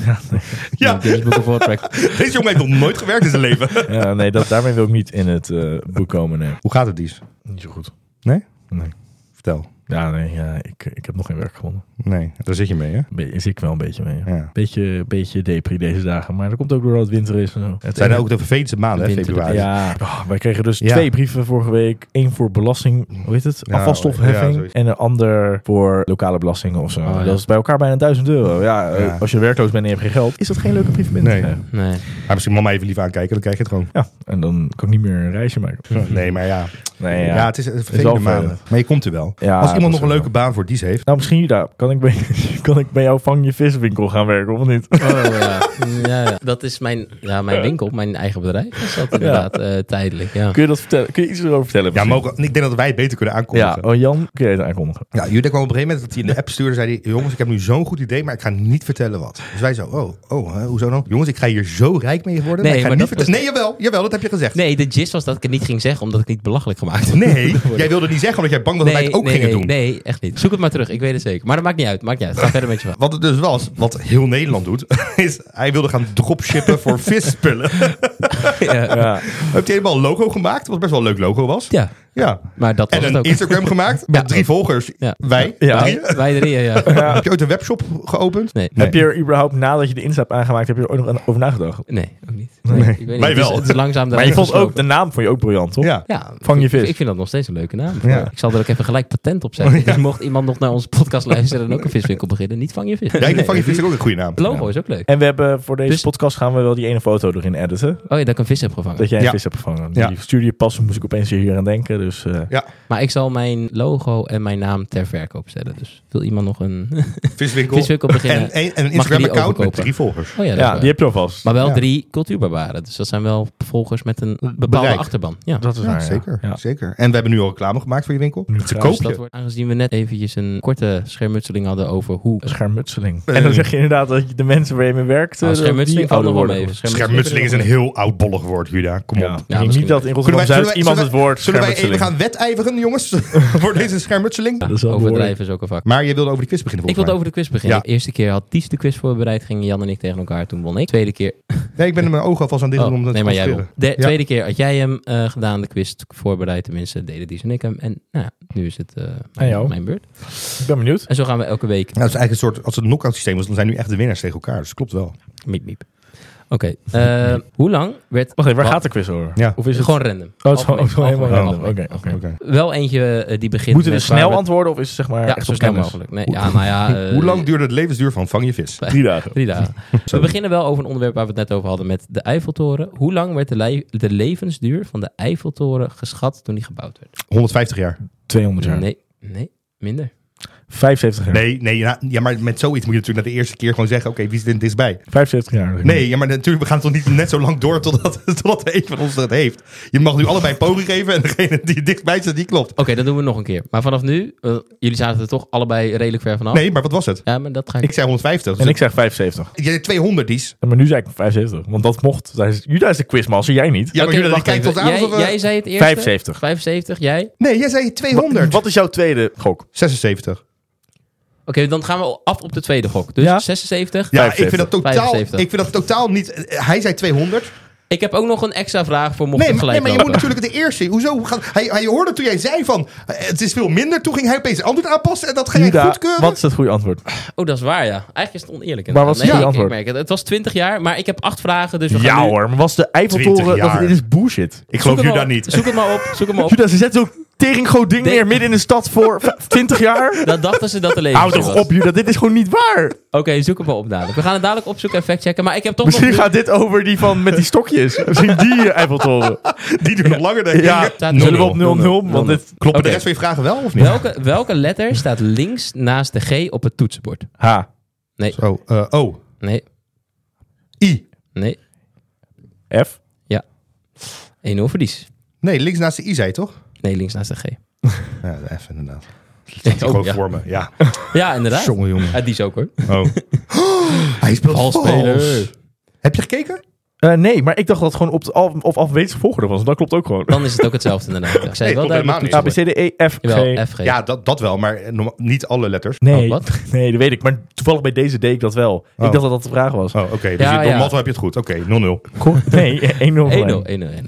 S4: ja, nee.
S1: Ja,
S2: Guinness Book of World Records.
S1: Deze jongen heeft nog nooit gewerkt in zijn leven.
S4: Ja, nee, dat, daarmee wil ik niet in het eh, boek komen, nee.
S1: Hoe gaat het, Dies?
S4: Niet zo goed.
S1: Nee?
S4: Nee.
S1: Vertel.
S4: Ja, nee, ja, ik, ik heb nog geen werk gevonden.
S1: Nee, daar zit je mee, hè?
S4: Be is ik wel een beetje mee.
S1: Ja.
S4: Beetje, beetje depri deze dagen, maar dat komt ook doordat het winter is en zo. Het
S1: Het zijn ook de vervelendste maanden, hè,
S2: Winter-
S1: februari.
S4: Ja, oh, wij kregen dus
S1: Ja.
S4: twee brieven vorige week. Eén voor belasting, hoe heet het?
S1: Ja, ja,
S4: Afvalstofheffing.
S1: zoiets.
S4: en een ander voor lokale belastingen of zo.
S2: Oh, ja.
S4: Dat is bij elkaar bijna 1000 euro. Ja, eh,
S1: Ja.
S4: als je werkloos bent en je hebt geen geld, is dat geen leuke brief binnen
S1: Nee.
S4: te krijgen.
S2: Nee.
S1: Maar misschien mama even lief aankijken, dan krijg je het gewoon.
S4: Ja, en dan kan ik niet meer een reisje maken.
S1: Nee, maar ja.
S4: Nee,
S1: Ja,
S4: ja.
S1: het is een
S4: is wel
S1: vervelende maanden. Maar je komt er wel.
S4: Ja,
S1: Als iemand nog
S4: dat
S1: een
S4: is
S1: leuke baan voor Dies heeft.
S4: Nou, misschien Juda, kan ik bij, kan ik bij jouw vang je viswinkel gaan werken of niet?
S2: Oh, ja. ja, ja. Dat is mijn, ja, mijn winkel, mijn eigen bedrijf. Is dat inderdaad eh, tijdelijk, ja.
S4: Kun je dat vertellen? Kun je iets erover vertellen?
S1: Ja,
S4: precies?
S1: mogen, ik denk dat wij het beter kunnen
S4: Ja,
S1: aankondigen.
S4: oh, Jan, kun jij het aankondigen?
S1: Ja, Jude kwam op een gegeven moment dat hij in de app stuurde. Zei hij, jongens, ik heb nu zo'n goed idee, maar ik ga niet vertellen wat. Dus wij zo, oh, oh, hè, hoezo dan? Jongens, ik ga hier zo rijk mee worden.
S2: Nee,
S1: maar ik ga
S2: maar
S1: niet
S2: dat was-
S1: vertellen. Nee, jawel, jawel, dat heb je gezegd.
S2: Nee, de gist was dat ik het niet ging zeggen, omdat ik niet belachelijk gemaakt had.
S1: Nee, jij wilde niet zeggen omdat jij bang was dat wij het ook
S2: nee,
S1: gingen
S2: nee,
S1: doen.
S2: Nee, echt niet. Zoek het maar terug, ik weet het zeker. Maar dat maakt niet uit, maakt niet uit. Ga verder met je verhaal.
S1: Wat het dus was, wat heel Nederland doet, is hij wilde gaan dropshippen voor visspullen.
S2: Ja.
S4: Ja.
S1: Heeft hij helemaal een logo gemaakt, wat best wel een leuk logo was.
S2: Ja,
S1: Ja.
S2: maar dat was
S1: En
S2: het
S1: een
S2: ook.
S1: Instagram gemaakt met
S2: Ja.
S1: drie volgers.
S2: Ja.
S1: Wij,
S4: Ja.
S1: drieën.
S2: Wij drieën, ja.
S1: Heb je ooit een webshop geopend?
S2: Nee.
S4: Heb je er überhaupt, nadat je de Insta hebt aangemaakt, heb je er ooit nog aan- over nagedacht?
S2: Nee, ook niet. Nee, ik weet niet.
S1: Wij
S2: Het is-
S1: wel.
S2: Het is, langzaam
S4: Maar je
S2: daaruit
S4: vond ook,
S2: geslopen.
S4: de naam vond je ook briljant, toch?
S1: Ja.
S2: Ja,
S4: Vang je
S2: ik-
S4: vis.
S2: Ik vind dat nog steeds een leuke naam.
S1: Ja.
S2: Ik zal er ook even gelijk patent op zetten. Dus mocht iemand nog naar onze podcast luisteren en ook een viswinkel beginnen, niet vang je vis.
S1: Ja, ik
S2: Nee.
S1: denk van je vind ik ook een goede naam.
S2: Het logo is ook leuk.
S4: En we hebben voor deze
S2: Dus-
S4: podcast gaan we wel die ene foto erin editen.
S2: Oh ja, dat ik een vis heb gevangen.
S4: Dat jij een
S1: Ja.
S4: vis hebt gevangen.
S1: Ja.
S4: Die stuurde je pas, moest ik opeens hier aan denken. Dus eh,
S2: Maar ik zal mijn logo en mijn naam ter verkoop stellen. Dus wil iemand nog een Oh
S1: Viswinkel.
S2: viswinkel beginnen?
S1: En, en, en een
S2: die
S1: Instagram-account met
S2: overkopen?
S1: drie volgers.
S2: Oh ja, dat
S4: ja,
S2: is waar.
S4: die heb je alvast.
S2: Maar wel
S1: Ja.
S2: drie cultuurbarbaren. Dus dat zijn wel volgers met een bepaalde
S1: Bereik.
S2: achterban. Ja.
S4: Dat is
S1: Ja,
S4: waar, ja.
S1: zeker,
S4: Ja.
S1: zeker. En we hebben nu al reclame gemaakt voor je winkel. Ze
S4: graag.
S1: koop
S2: Dus dat
S1: je.
S2: wordt, aangezien we net eventjes een korte schermutseling hadden over hoe...
S4: Een Schermutseling.
S1: Eh.
S4: En dan zeg je inderdaad dat je de mensen waar je mee werkt... eh,
S2: Nou,
S4: dat die
S2: schermutseling valt
S4: ouder
S2: nog wel
S4: worden.
S2: mee.
S1: Schermutseling is een heel oudbollig woord, Juda. Kom
S4: Ja.
S1: op.
S4: Ik denk
S2: misschien
S4: niet dat in Rotterdam-Zuid iemand het woord
S1: Zullen wij even
S4: schermutseling-
S1: gaan wedijveren, jongens? voor deze schermutseling?
S4: Dat is wel behoorlijk.
S2: Overdrijven is ook een vak.
S1: Maar je wilde over de quiz beginnen
S2: Ik
S1: volgens
S2: wilde over de quiz beginnen. De eerste keer had Ties de quiz voorbereid. Gingen Jan en ik tegen elkaar. Toen won ik. Tweede keer...
S1: mij. Nee, ik ben mijn ogen alvast aan dit
S2: Oh,
S1: doen om dat
S2: nee,
S1: te
S2: maar jij won.
S1: concentreren.
S2: De
S1: Ja.
S2: tweede keer had jij hem eh, gedaan. De quiz voorbereid. Tenminste, deden Ties en ik hem. En nou, ja, nu is het eh, mijn,
S4: jou.
S2: mijn beurt.
S4: Ik ben benieuwd.
S2: En zo gaan we elke week.
S1: Ja, dat is eigenlijk een soort, als het een knock-out systeem was, dan zijn nu echt de winnaars tegen elkaar. Dus dat klopt wel.
S2: Miep, miep. Oké. eh, hoe lang werd...
S4: Wacht even, waar
S2: Wat?
S4: gaat de quiz over?
S1: Ja.
S4: Of is Oh, het...
S2: Gewoon random.
S4: Oh, het is gewoon-
S2: Algemeen,
S4: gewoon helemaal
S2: algemeen,
S4: random.
S2: algemeen,
S4: Oké, oké.
S2: algemeen. Wel eentje eh, die begint
S4: Moeten we
S2: met waar
S4: snel
S2: we-
S4: antwoorden of is het zeg maar
S2: Ja,
S4: echt
S2: zo
S4: op
S2: snel
S4: kennis?
S2: mogelijk. Nee, ja, nou ja, eh,
S1: Hoe lang duurde het levensduur van vang je vis?
S4: Drie dagen.
S2: Drie dagen. We beginnen wel over een onderwerp waar we het net over hadden met de Eiffeltoren. Hoe lang werd de, lei- de levensduur van de Eiffeltoren geschat toen die gebouwd werd?
S1: 150 jaar.
S4: 200 jaar.
S2: Nee, nee, minder.
S4: 75 jaar.
S1: Nee, nee ja, ja, maar met zoiets moet je natuurlijk na de eerste keer gewoon zeggen... oké, wie zit er dit bij?
S4: 75 jaar.
S1: Nee, ja, maar natuurlijk, we gaan toch niet net zo lang door totdat, totdat een van ons dat heeft. Je mag nu allebei een poging geven en degene die het dichtbij staat, die klopt.
S2: Oké, dan doen we nog een keer. Maar vanaf nu, eh, jullie zaten er toch allebei redelijk ver vanaf.
S1: Nee, maar wat was het?
S2: Ja, maar dat ga ik...
S1: Ik zei 150. Dus
S4: En ik zeg 75.
S1: Jij deed 200, Dies.
S4: Maar nu zei ik 75. Want dat mocht. tijdens- Juda is de quizmaster, jij niet.
S1: Ja, maar
S2: Oké,
S1: jullie
S2: wacht
S1: kijken
S2: even.
S1: ons aan
S2: jij,
S1: alsof we-
S2: jij zei het eerst.
S4: 75.
S2: 75, jij? Oké,
S1: Nee, jij zei 200.
S4: Wat is jouw tweede gok?
S1: 76.
S2: dan gaan we af op de tweede gok. Dus
S4: Ja.
S2: 76.
S1: Ja,
S4: 75.
S1: ik vind dat totaal,
S2: 75.
S1: ik vind dat totaal niet... eh, Hij zei 200.
S2: Ik heb ook nog een extra vraag voor mocht
S1: Nee,
S2: het
S1: maar,
S2: gelijk
S1: nee, maar je moet
S2: lopen.
S1: natuurlijk de eerste. Hoezo? Hoe gaat- Hij, hij hoorde toen jij zei van... eh, Het is veel minder. Toen ging hij opeens antwoord aanpassen en dat ging hij
S4: Juda,
S1: goedkeuren.
S4: wat is het goede antwoord?
S2: Oh, dat is waar, ja. Eigenlijk is het oneerlijk.
S4: Maar wat is
S2: inderdaad.
S4: het
S2: Nee, ik-
S4: antwoord?
S2: ik merk het. Het was 20 jaar, maar ik heb acht vragen, dus we gaan
S4: Ja
S2: nu...
S4: hoor, maar was de
S1: 20
S4: Eiffeltoren...
S1: jaar.
S4: Dat, dit is bullshit.
S1: Ik
S2: Zoek het maar op. Zoek het maar op. Zoek het maar op.
S4: Juda, ze zetten zo'n tering groot ding
S2: Denk-
S4: neer midden in de stad voor 20 jaar.
S2: Dat dachten ze dat de leven
S4: Hou toch op Juda, dit is gewoon niet waar.
S2: Oké, zoek het maar op dadelijk. We gaan het dadelijk opzoeken en factchecken. Maar ik heb toch
S4: Misschien
S2: nog...
S4: gaat dit over die van met die stokjes. Misschien die eh, Eiffeltoren.
S1: Die duurt nog langer, denk ik.
S4: Ja,
S2: Staat-
S4: Zullen we op
S1: 0-0.
S4: 0-0? Want dit...
S1: Kloppen
S2: Oké.
S1: de rest van je vragen wel of niet?
S2: Welke, welke letter staat links naast de G op het toetsenbord?
S4: H.
S1: Zo, eh, oh.
S2: Nee,
S1: I.
S2: nee.
S4: F.
S2: 1-0 verlies.
S1: Nee, links naast de I zei je toch?
S2: Nee, links naast de G.
S1: Ja, de F inderdaad.
S2: Oh,
S1: Gewoon
S2: ja.
S1: voor me, ja.
S2: ja, inderdaad.
S1: Jongen, jongen.
S2: Ja, die is ook hoor.
S1: Oh. Hij speelt vals.
S2: Valspeler.
S1: Heb je gekeken?
S4: Eh, nee, maar ik dacht dat het gewoon op de af, of afwezige volgorde was. Dat klopt ook gewoon.
S2: Dan is het ook hetzelfde inderdaad. Ja. Ik zei
S1: Nee,
S2: wel
S1: klopt helemaal
S2: duidelijk
S1: niet.
S4: A, B, C, D,
S2: toetsenbord. Jawel,
S4: E, F, G.
S2: FG.
S1: Ja, dat, dat wel, maar eh, norma- niet alle letters.
S4: Nee,
S2: Oh, wat?
S4: nee, dat weet ik. Maar toevallig bij deze deed ik dat wel.
S1: Oh.
S4: Ik dacht dat dat de vraag was.
S1: Oh, oké. dus
S2: Ja,
S1: je- door
S2: ja.
S1: mazzel heb je het goed. Oké, 0-0.
S4: Nee,
S2: 1-0, 1-0,
S4: 1-0.
S2: 1-0.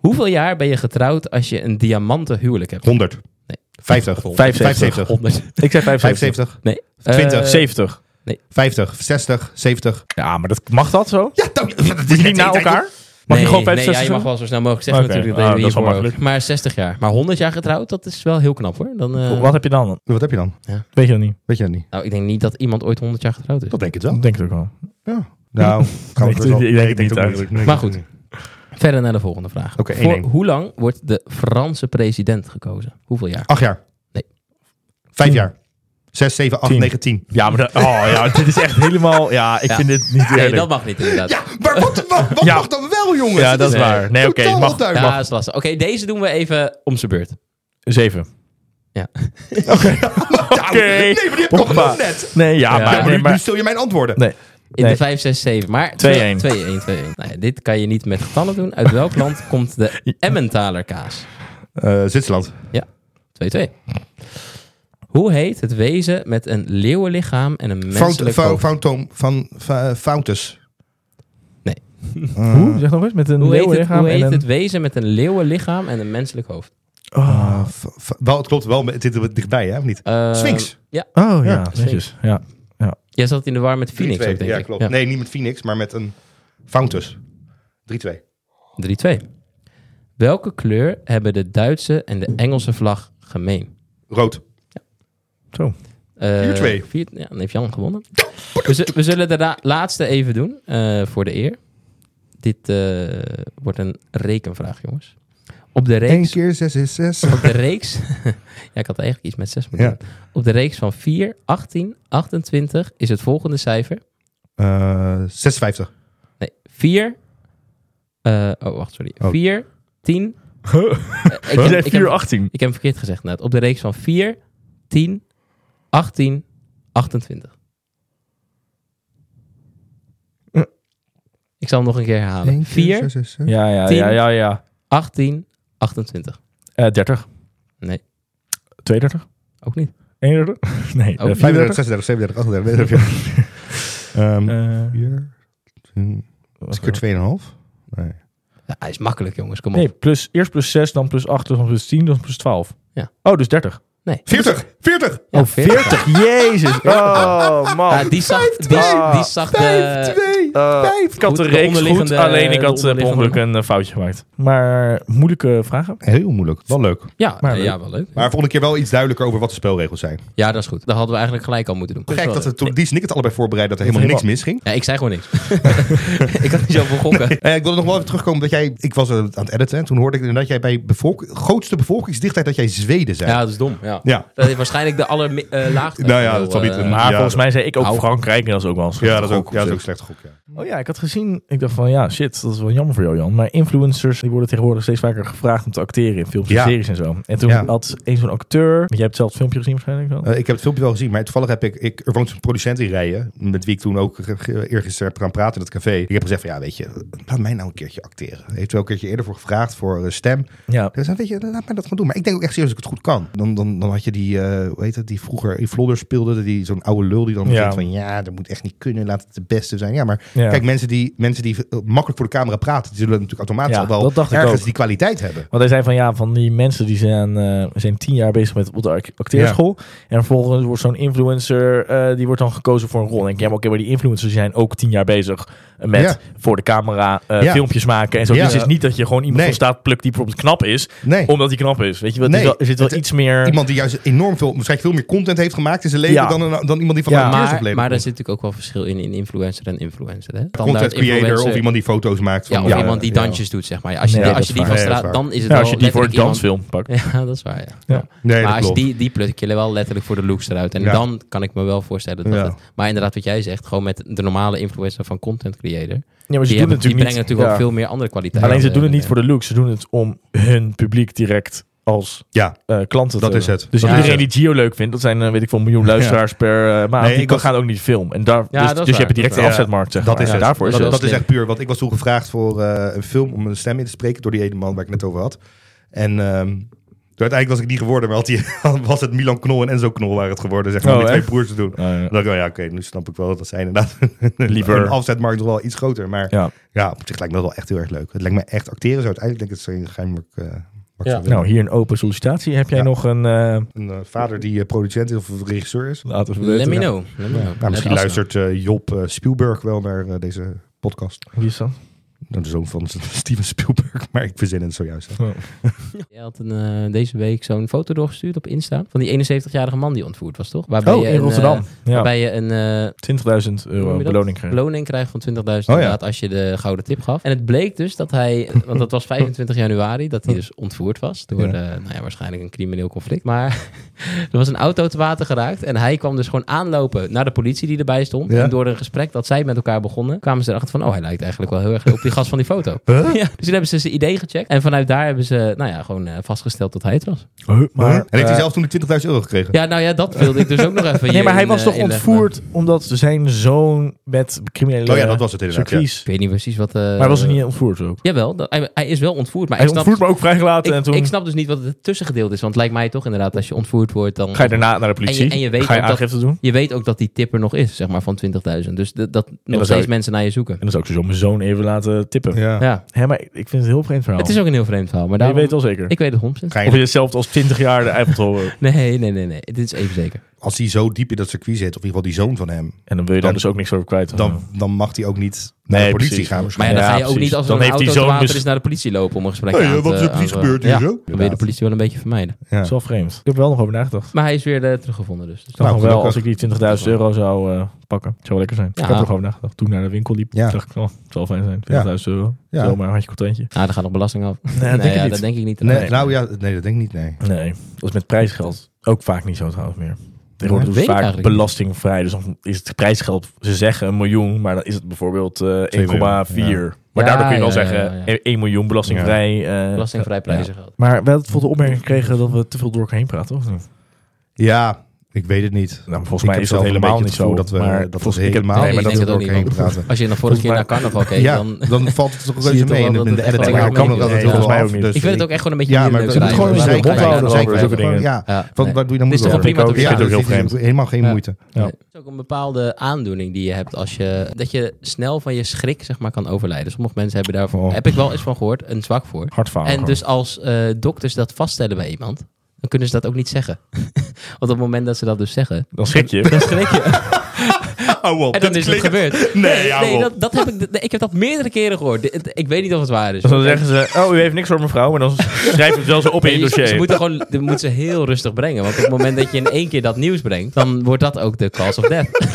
S2: Hoeveel jaar ben je getrouwd als je een diamanten huwelijk hebt?
S1: 100.
S2: Nee.
S1: 50.
S4: 75.
S2: 100.
S4: Ik zei 75.
S1: 75.
S2: Nee.
S1: 20,
S2: Eh,
S4: 70.
S1: 50. 60. 70.
S4: Ja, maar dat, mag dat zo?
S1: Ja, dan, dat
S4: Niet na elkaar? Mag je gewoon 65
S2: nee, ja, je mag wel zo snel mogelijk zeggen
S4: Oké,
S2: natuurlijk. Dat
S4: ah,
S2: je
S4: dat is wel
S2: hiervoor
S4: makkelijk.
S2: ook. Maar 60 jaar. Maar 100 jaar getrouwd, dat is wel heel knap hoor. Dan, eh,
S4: Wat heb je dan?
S1: Wat heb je dan?
S4: Weet je dat niet?
S1: Weet je dat niet?
S2: Nou, ik denk niet dat iemand ooit 100 jaar getrouwd is.
S1: Dat denk ik wel.
S4: denk ik ook wel.
S1: Ja. Nou, gaan we
S4: Nee,
S1: gerust wel-
S4: ik denk
S1: Nee,
S4: het niet
S1: ook
S4: eigenlijk.
S1: Nee,
S2: Maar
S1: ik
S2: goed.
S1: denk het
S2: Verder naar de volgende vraag.
S1: Oké,
S2: Voor
S1: 1-1.
S2: hoe lang
S4: Ah,
S2: wordt de Franse president gekozen? Hoeveel jaar?
S1: niet. Acht jaar.
S2: Nee.
S1: Vijf jaar. 6, 7, 8,
S4: Tien.
S1: 9, 10.
S3: Ja, maar dat- oh, ja, dit is echt helemaal... Ja, ik
S2: Ja.
S3: vind dit niet eerlijk.
S2: Nee, dat mag niet inderdaad.
S1: Ja, maar wat, wat, wat
S3: Ja.
S1: mag dan wel, jongens?
S3: Ja, dat is
S1: Het
S3: waar. Nee, oké.
S1: totaal
S3: mag
S1: onduidelijk.
S2: Ja, dat is lastig. Oké, deze doen we even om zijn beurt.
S3: zeven.
S1: Ja, Nee, maar die heb ik
S3: Hoppa.
S1: nog net.
S3: Nee, ja,
S2: Ja.
S1: Ja,
S3: maar...
S1: maar
S3: Nee,
S1: nu, nu
S3: maar
S1: stel je mijn antwoorden.
S4: Nee.
S2: In
S4: Nee.
S2: de 5, 6, 7. Maar 2-1. 2-1,
S3: 2-1.
S2: 2-1. Nou ja, dit kan je niet met getallen doen. Uit welk land komt de Emmentaler kaas?
S1: Eh, Zwitserland.
S2: 2-2. Hoe heet het wezen met een leeuwenlichaam en een
S1: Fout-
S2: menselijk
S1: fou-
S2: hoofd?
S1: Fountoom van fa- Fountus.
S2: Nee.
S3: Mm.
S1: Eh,
S4: Hoe? Zeg nog eens. Met een
S2: Hoe heet, het,
S4: leeuwenlichaam
S2: hoe heet
S4: en een-
S2: het wezen met een leeuwenlichaam en een menselijk hoofd?
S4: Ah.
S1: eh,
S3: Oh,
S1: fa- fa- wel, het klopt wel. Het zit er dichtbij, hè? Of niet?
S2: Eh,
S1: Sphinx.
S2: Ja,
S4: Oh ja,
S1: Ja,
S4: netjes. Ja.
S2: jij zat in de war met Phoenix ook,
S1: 3-2.
S2: denk
S1: Ja,
S2: ik.
S1: klopt. Nee, niet met Phoenix, maar met een Fountus. 3-2.
S2: 3-2. Welke kleur hebben de Duitse en de Engelse vlag gemeen?
S1: Rood.
S4: Zo.
S2: Eh,
S1: 4-2.
S2: vier- Ja, dan heeft Jan gewonnen. We, zu- we zullen de ra- laatste even doen, eh, voor de eer. Dit eh, wordt een rekenvraag, jongens. Op de reeks...
S1: keer 6 is 6.
S2: Op de reeks... ja, ik had eigenlijk iets met 6 moeten
S1: Ja.
S2: doen. Op de reeks van 4, 18, 28 is het volgende cijfer...
S1: Eh, 56.
S2: Nee, 4... eh, oh, wacht, sorry.
S1: Oh.
S2: 4, 10... ik,
S3: je
S2: heb,
S3: zei
S2: ik, heb,
S3: 418.
S2: ik heb verkeerd gezegd net. Op de reeks van 4, 10, 18, 28. Ik zal hem nog een keer herhalen. 4,
S4: Ja, ja,
S2: Tien.
S4: ja, ja, ja.
S2: 18, 28.
S4: Eh 30.
S2: Nee.
S4: 32.
S2: Ook niet.
S4: 31? Nee,
S2: Ook
S4: eh,
S1: 35,
S4: 34.
S1: 36, 37, 38, 39.
S4: Eh,
S1: 4. Ehm, Is
S4: wacht
S1: keer 2,5? Nee.
S2: Ja, hij is makkelijk, jongens. Kom op.
S4: even. nee, plus, eerst plus 6, dan plus 8, dan plus 10, dan plus 12.
S2: Ja.
S4: Oh, dus 30.
S1: 40! 40!
S2: Ja,
S4: oh, 40. Jezus. Oh, man.
S2: Ja, die zag... Die,
S4: twee.
S2: die zag de...
S1: 2!
S4: Eh, ik had de
S2: Goed, de
S4: reeks goed,
S2: onderliggende-
S4: alleen ik
S2: de
S4: had eh, per ongeluk
S2: onderliggende.
S4: een eh, foutje gemaakt. Maar moeilijke vragen?
S1: Heel moeilijk. Wel leuk.
S2: Ja,
S4: Maar
S2: eh,
S4: leuk.
S2: ja, wel leuk.
S1: Maar volgende keer wel iets duidelijker over wat de spelregels zijn.
S2: Ja, dat is goed. Dat hadden we eigenlijk gelijk al moeten doen.
S1: Gek dat we toen Dies en ik het allebei voorbereid dat er
S4: Dat
S1: helemaal niks misging.
S4: helemaal-
S2: Ja, ik zei gewoon niks. ik had niet zoveel gokken.
S1: Eh, ik wilde nog wel even terugkomen dat jij... Ik was eh, aan het editen en toen hoorde ik dat jij bij bevolk, grootste bevolkingsdichtheid dat jij Zweden zei.
S2: Ja, dat is dom. Ja.
S1: Ja.
S2: Dat is waarschijnlijk de eh, allerlaagste.
S1: Nou ja, dat zal
S2: eh,
S1: niet-
S4: Maar
S1: Ja,
S4: volgens
S1: dat-
S4: mij zei ik ook
S2: Au.
S4: Frankrijk en dat is ook wel eens.
S1: Ja, dat is ook,
S4: Gok
S1: ja, dat is ook
S4: op
S1: slecht gok. Ja.
S4: zich. Oh ja, ik had gezien. Ik dacht van ja, shit, dat is wel jammer voor jou Jan. Maar influencers die worden tegenwoordig steeds vaker gevraagd om te acteren in films en
S1: Ja.
S4: series en zo. En toen
S1: Ja.
S4: had een zo'n acteur, jij hebt zelf het filmpje gezien waarschijnlijk wel.
S1: Eh, ik heb het filmpje wel gezien, maar toevallig heb ik, ik er woont een producent in Rijen, met wie ik toen ook ge- ge- eergisteren heb gaan praten in het café. Ik heb gezegd van, ja, weet je, laat mij nou een keertje acteren. Hij Heeft wel een keertje eerder voor gevraagd voor eh, stem.
S4: Ja.
S1: Dus weet je, laat mij dat gewoon doen. Maar ik denk ook echt serieus dat ik het goed kan. Dan, dan, dan had je die, eh, hoe heet het, die vroeger in Vlodder speelde, die, zo'n oude lul die dan
S4: Ja.
S1: denkt van, ja, dat moet echt niet kunnen, laat het de beste zijn. Ja, maar
S4: Ja.
S1: kijk, mensen die, mensen die eh, makkelijk voor de camera praten, die zullen natuurlijk automatisch
S4: Ja,
S1: al wel
S4: dat dacht ik
S1: ergens
S4: ook.
S1: die kwaliteit hebben.
S4: Want hij zei van ja, van die mensen die zijn, eh, zijn tien jaar bezig met op de ac- acteerschool. En vervolgens wordt zo'n influencer, eh, die wordt dan gekozen voor een rol. En ik denk, ja, maar oké, maar die influencers zijn ook tien jaar bezig met
S1: Ja.
S4: voor de camera eh,
S1: Ja.
S4: filmpjes maken en zo.
S1: Ja.
S4: Dus het is niet dat je gewoon iemand
S1: Nee.
S4: van staat plukt die bijvoorbeeld knap is,
S1: Nee.
S4: omdat hij knap is. Weet je, wel, het is
S1: Nee.
S4: wel, er zit wel
S1: Het-
S4: iets meer...
S1: Iemand die juist enorm veel, waarschijnlijk veel meer content heeft gemaakt in zijn leven
S4: Ja.
S1: dan, een- dan iemand die van
S4: Ja.
S1: de
S2: maar,
S1: acteursopleiding
S2: maar er
S1: komt.
S2: zit natuurlijk ook wel verschil in, in influencer en influencer. Hè?
S1: content
S2: Standaard
S1: creator
S2: influencer-
S1: of iemand die foto's maakt.
S2: Ja,
S1: van-
S2: of iemand die dansjes doet, zeg maar. Ja, Als je,
S4: Nee,
S2: die-
S4: dat
S2: als
S4: is
S2: je die
S1: waar.
S2: van
S1: Nee, dat
S2: straat,
S1: is waar.
S2: dan is het
S4: Ja,
S2: wel
S4: als je die voor een
S2: letterlijk iemand-
S4: dansfilm pakt.
S2: Ja, dat is waar, ja.
S4: Ja.
S2: Ja.
S1: Nee,
S2: maar
S1: dat
S2: als je
S1: klopt.
S2: die, die pluk je wel letterlijk voor de looks eruit. En
S1: Ja.
S2: dan kan ik me wel voorstellen dat
S1: Ja.
S2: het... Maar inderdaad, wat jij zegt, gewoon met de normale influencer van content creator.
S4: Ja, maar ze
S2: Die,
S4: doen
S2: hebben,
S4: het
S2: die
S4: natuurlijk
S2: brengen
S4: niet...
S2: natuurlijk
S4: ja.
S2: ook veel meer andere kwaliteiten.
S4: Alleen ze doen het niet
S2: Eh,
S4: voor de looks, ze doen het om hun publiek direct als
S1: Ja,
S4: eh, klanten. te
S1: Dat is
S4: hebben.
S1: het.
S4: Dus
S2: Dat
S4: iedereen
S1: is
S4: die Gio leuk vindt, dat zijn eh, weet ik veel, een miljoen luisteraars per eh, maand.
S1: Nee,
S4: die
S1: ik was-
S4: gaan ook niet filmen. En daar,
S2: Ja,
S4: dus,
S2: dat is
S4: dus je
S2: waar,
S4: hebt direct
S1: dat
S4: een
S1: is waar.
S4: afzetmarkt. Zeg
S1: Dat
S4: maar.
S1: is
S4: Ja,
S1: het.
S4: Daarvoor is
S2: Dat
S4: het.
S1: dat,
S2: was
S1: is
S2: slim.
S1: echt puur. Want ik was toen gevraagd voor eh, een film om een stem in te spreken door die ene man waar ik net over had. En ehm, toen uiteindelijk was ik niet geworden, maar had die, was het Milan Knol en Enzo Knol waren het geworden. Zeg maar,
S4: Oh,
S1: om die twee
S4: echt?
S1: broers te doen.
S4: Ja, ja.
S1: Dan dacht ik, oh ja, oké, nu snap ik wel dat zij inderdaad
S4: Liever.
S1: een afzetmarkt nog wel iets groter. Maar ja.
S4: Ja.
S1: op zich lijkt me dat wel echt heel erg leuk. Het lijkt me echt acteren. Zo uiteindelijk denk ik dat ze een geheim eh, wat ik
S2: Ja.
S1: zou willen.
S4: Nou, hier een open sollicitatie. Heb jij
S1: Ja.
S4: nog een... eh
S1: Een eh, vader die eh, producent is of regisseur is.
S4: laten we
S2: Eh, Let
S4: weten.
S2: me
S4: Ja.
S2: know. Let me know.
S1: Nou, misschien
S2: Let us
S1: luistert eh, Job eh, Spielberg wel naar eh, deze podcast.
S4: Wie is dat?
S1: De zoon van Steven Spielberg, maar ik verzin het zojuist.
S4: Oh.
S2: Je had een, eh, deze week zo'n foto doorgestuurd op Insta. Van die 71-jarige man die ontvoerd was, toch? Waarbij
S4: Oh,
S2: je
S4: in
S2: een,
S4: Rotterdam.
S2: eh,
S4: ja.
S2: waarbij je een eh,
S4: 20.000 euro
S2: noem je dat?
S4: beloning Oh krijgt.
S2: beloning krijgt van 20.000
S1: ja.
S2: inderdaad als je de gouden tip gaf. En het bleek dus dat hij, want dat was 25 januari, dat hij dus ontvoerd was door
S4: Ja.
S2: eh, nou ja, waarschijnlijk een crimineel conflict. Maar er was een auto te water geraakt en hij kwam dus gewoon aanlopen naar de politie die erbij stond.
S1: Ja.
S2: En door een gesprek dat zij met elkaar begonnen, kwamen ze erachter van, oh hij lijkt eigenlijk wel heel erg op die gast van die foto.
S1: Huh?
S2: Ja, dus toen hebben ze zijn idee gecheckt en vanuit daar hebben ze, nou ja, gewoon eh, vastgesteld dat hij het was.
S1: Maar, en heeft hij
S4: eh,
S1: zelf toen die 20.000 euro gekregen?
S2: Ja, nou ja, dat wilde ik dus ook nog even
S4: Nee, maar
S2: hierin,
S4: hij was
S2: eh,
S4: toch
S2: inleggen.
S4: ontvoerd omdat zijn zoon met criminele
S1: Oh ja, dat was het inderdaad. ja.
S4: circuits...
S2: Ik weet niet precies wat... eh,
S4: Maar hij was er niet ontvoerd ook?
S2: Jawel, dat- hij, hij is wel ontvoerd, maar
S4: hij
S2: ik snap- dus-
S4: ontvoerd, maar ook vrijgelaten. en
S2: Ik,
S4: toen
S2: ik snap dus niet wat het tussengedeelte is. Want het lijkt mij toch inderdaad, als je ontvoerd wordt, dan...
S4: ga je daarna naar de politie.
S2: En je- en je weet
S4: ga je
S2: ook dat-
S4: aangifte doen.
S2: Je weet ook dat die tipper nog is, zeg maar, van 20.000. Dus dat, dat nog
S4: zou
S2: steeds
S4: ik-
S2: mensen naar je zoeken.
S4: En dan zou ik zo mijn zoon even laten tippen.
S1: Ja.
S2: Ja.
S4: Hé, maar ik ik vind het een heel vreemd verhaal.
S2: Het is ook een heel vreemd verhaal, maar
S4: Maar je
S2: daarom...
S4: weet wel zeker.
S2: Ik weet het 100%.
S1: Ga je-
S4: Of je hetzelfde als 20 jaar de Eiffeltoren. wil.
S2: Nee, nee, nee, nee. Dit is even zeker.
S1: Als hij zo diep in dat circuit zit, of in ieder geval die zoon van hem,
S4: En dan wil je dan
S1: Dan-
S4: dus ook niks over kwijt.
S1: dan, dan mag hij ook niet naar de
S4: Nee,
S1: politie
S4: precies.
S1: gaan
S2: Maar ja,
S1: waarschijnlijk.
S2: dan ga
S4: Ja,
S2: je ook
S4: precies.
S2: niet als er
S4: Dan
S2: een
S4: heeft die
S2: auto te
S4: zoon
S2: water
S4: mis-
S2: is naar de politie lopen om een gesprek
S1: Hey,
S2: aan te...
S1: eh, wat is er precies
S2: aan te-
S1: gebeurd hier
S2: Ja,
S1: zo?
S2: dan wil je de politie wel een beetje vermijden.
S4: Dat is wel vreemd. Ik heb er wel nog over nagedacht.
S2: Maar hij is weer eh, teruggevonden dus. Dus
S4: Ik dacht
S1: Nou,
S4: nog wel, als ik
S1: gelukkig.
S4: die 20.000 euro zou eh, pakken, het zou wel lekker zijn.
S2: Ja.
S4: Ik heb er nog over nagedacht. Toen ik naar de winkel liep,
S1: Ja.
S4: dacht ik, oh, het zal fijn zijn. 20.000 euro.
S1: Ja.
S4: Zomaar een handje contentje.
S2: Ah, daar gaat nog belasting af.
S4: Nee, dat denk ik
S2: ja,
S4: niet.
S2: dat denk ik niet.
S1: Nee,
S4: Nee.
S1: nou ja, nee, dat denk ik niet, nee.
S4: Nee, dat is met prijsgeld ook vaak niet zo trouwens meer. Tegenwoordig
S2: Ja,
S4: is
S2: weet ik
S4: het vaak
S2: eigenlijk niet.
S4: belastingvrij. Dus dan is het prijsgeld, ze zeggen een miljoen, maar dan is het bijvoorbeeld eh, 1,4. Maar
S2: Ja,
S4: daardoor kun je wel
S2: ja,
S4: zeggen
S2: ja, ja.
S4: eh, 1 miljoen belastingvrij. eh,
S2: Belastingvrij
S4: ja.
S2: prijzen gehad.
S4: Maar we hadden voor de opmerking gekregen dat we te veel door elkaar heen praten, of niet?
S1: Ja, ik weet het niet.
S4: Nou,
S1: Ik
S4: volgens mij
S1: heb
S4: is dat
S1: zelf
S4: helemaal
S1: een beetje het
S4: niet zo.
S1: gevoel Dat we,
S4: maar
S1: dat was
S4: volgens- ik heb-
S1: helemaal
S2: Nee,
S1: maar
S2: ik
S1: dat
S2: denk
S1: we
S2: het ook
S1: er heen
S2: niet,
S1: praten.
S2: Als je nog vorige
S4: Volgens
S2: keer
S4: mij-
S2: naar carnaval keek,
S1: ja,
S2: dan...
S1: dan valt het toch een
S2: Zie je
S1: beetje
S2: toch
S1: mee
S2: wel
S1: in
S2: dat
S1: in de
S2: het echt
S1: edit.
S2: wel
S1: Maar ik kan
S2: allemaal
S1: nog dat het heel
S2: meedoet.
S1: veel
S2: Ja,
S4: volgens mij ook
S1: Dus,
S2: Ik vind het ook echt gewoon een beetje
S1: Ja,
S2: in de
S1: maar dat
S4: moet
S1: moet
S4: gewoon
S1: gewoon
S4: een
S1: zeik
S4: zeik houden
S1: houden.
S4: over zulke dingen.
S1: Ja,
S2: Ja,
S1: want
S2: nee.
S1: wat doe je dan
S2: Het
S1: moeite
S2: is toch wel
S1: over?
S2: prima
S4: Ik
S2: dat
S4: ook.
S2: we
S1: Ja,
S4: vind het
S1: dat
S4: ook
S1: is
S4: heel
S1: heel
S4: vreemd.
S1: helemaal geen
S2: Ja.
S1: moeite.
S4: Ja.
S2: Nee, Het is ook een bepaalde aandoening die je hebt als je... Dat je snel van je schrik zeg maar, kan overlijden. Sommige mensen hebben daarvoor,
S1: Oh.
S2: heb ik wel eens van gehoord, een zwak voor.
S4: Hartfalen.
S2: En dus als eh, dokters dat vaststellen bij iemand, dan kunnen ze dat ook niet zeggen. Want op het moment dat ze dat dus zeggen,
S4: dan schrik je.
S2: dan schrik je.
S1: Hou op,
S2: En dan is het gebeurd.
S1: Nee, hou
S2: nee
S1: op.
S2: dat, dat heb ik, nee, ik heb dat meerdere keren gehoord. Dit- Ik weet niet of het waar is.
S4: Dus dan zeggen ze, oh, u heeft niks voor mevrouw. Maar dan schrijf je het wel zo op in je
S2: Nee, Ze,
S4: dossier.
S2: ze moeten gewoon, ze moeten ze heel rustig brengen. Want op het moment dat je in één keer dat nieuws brengt, dan wordt dat ook de cause of death.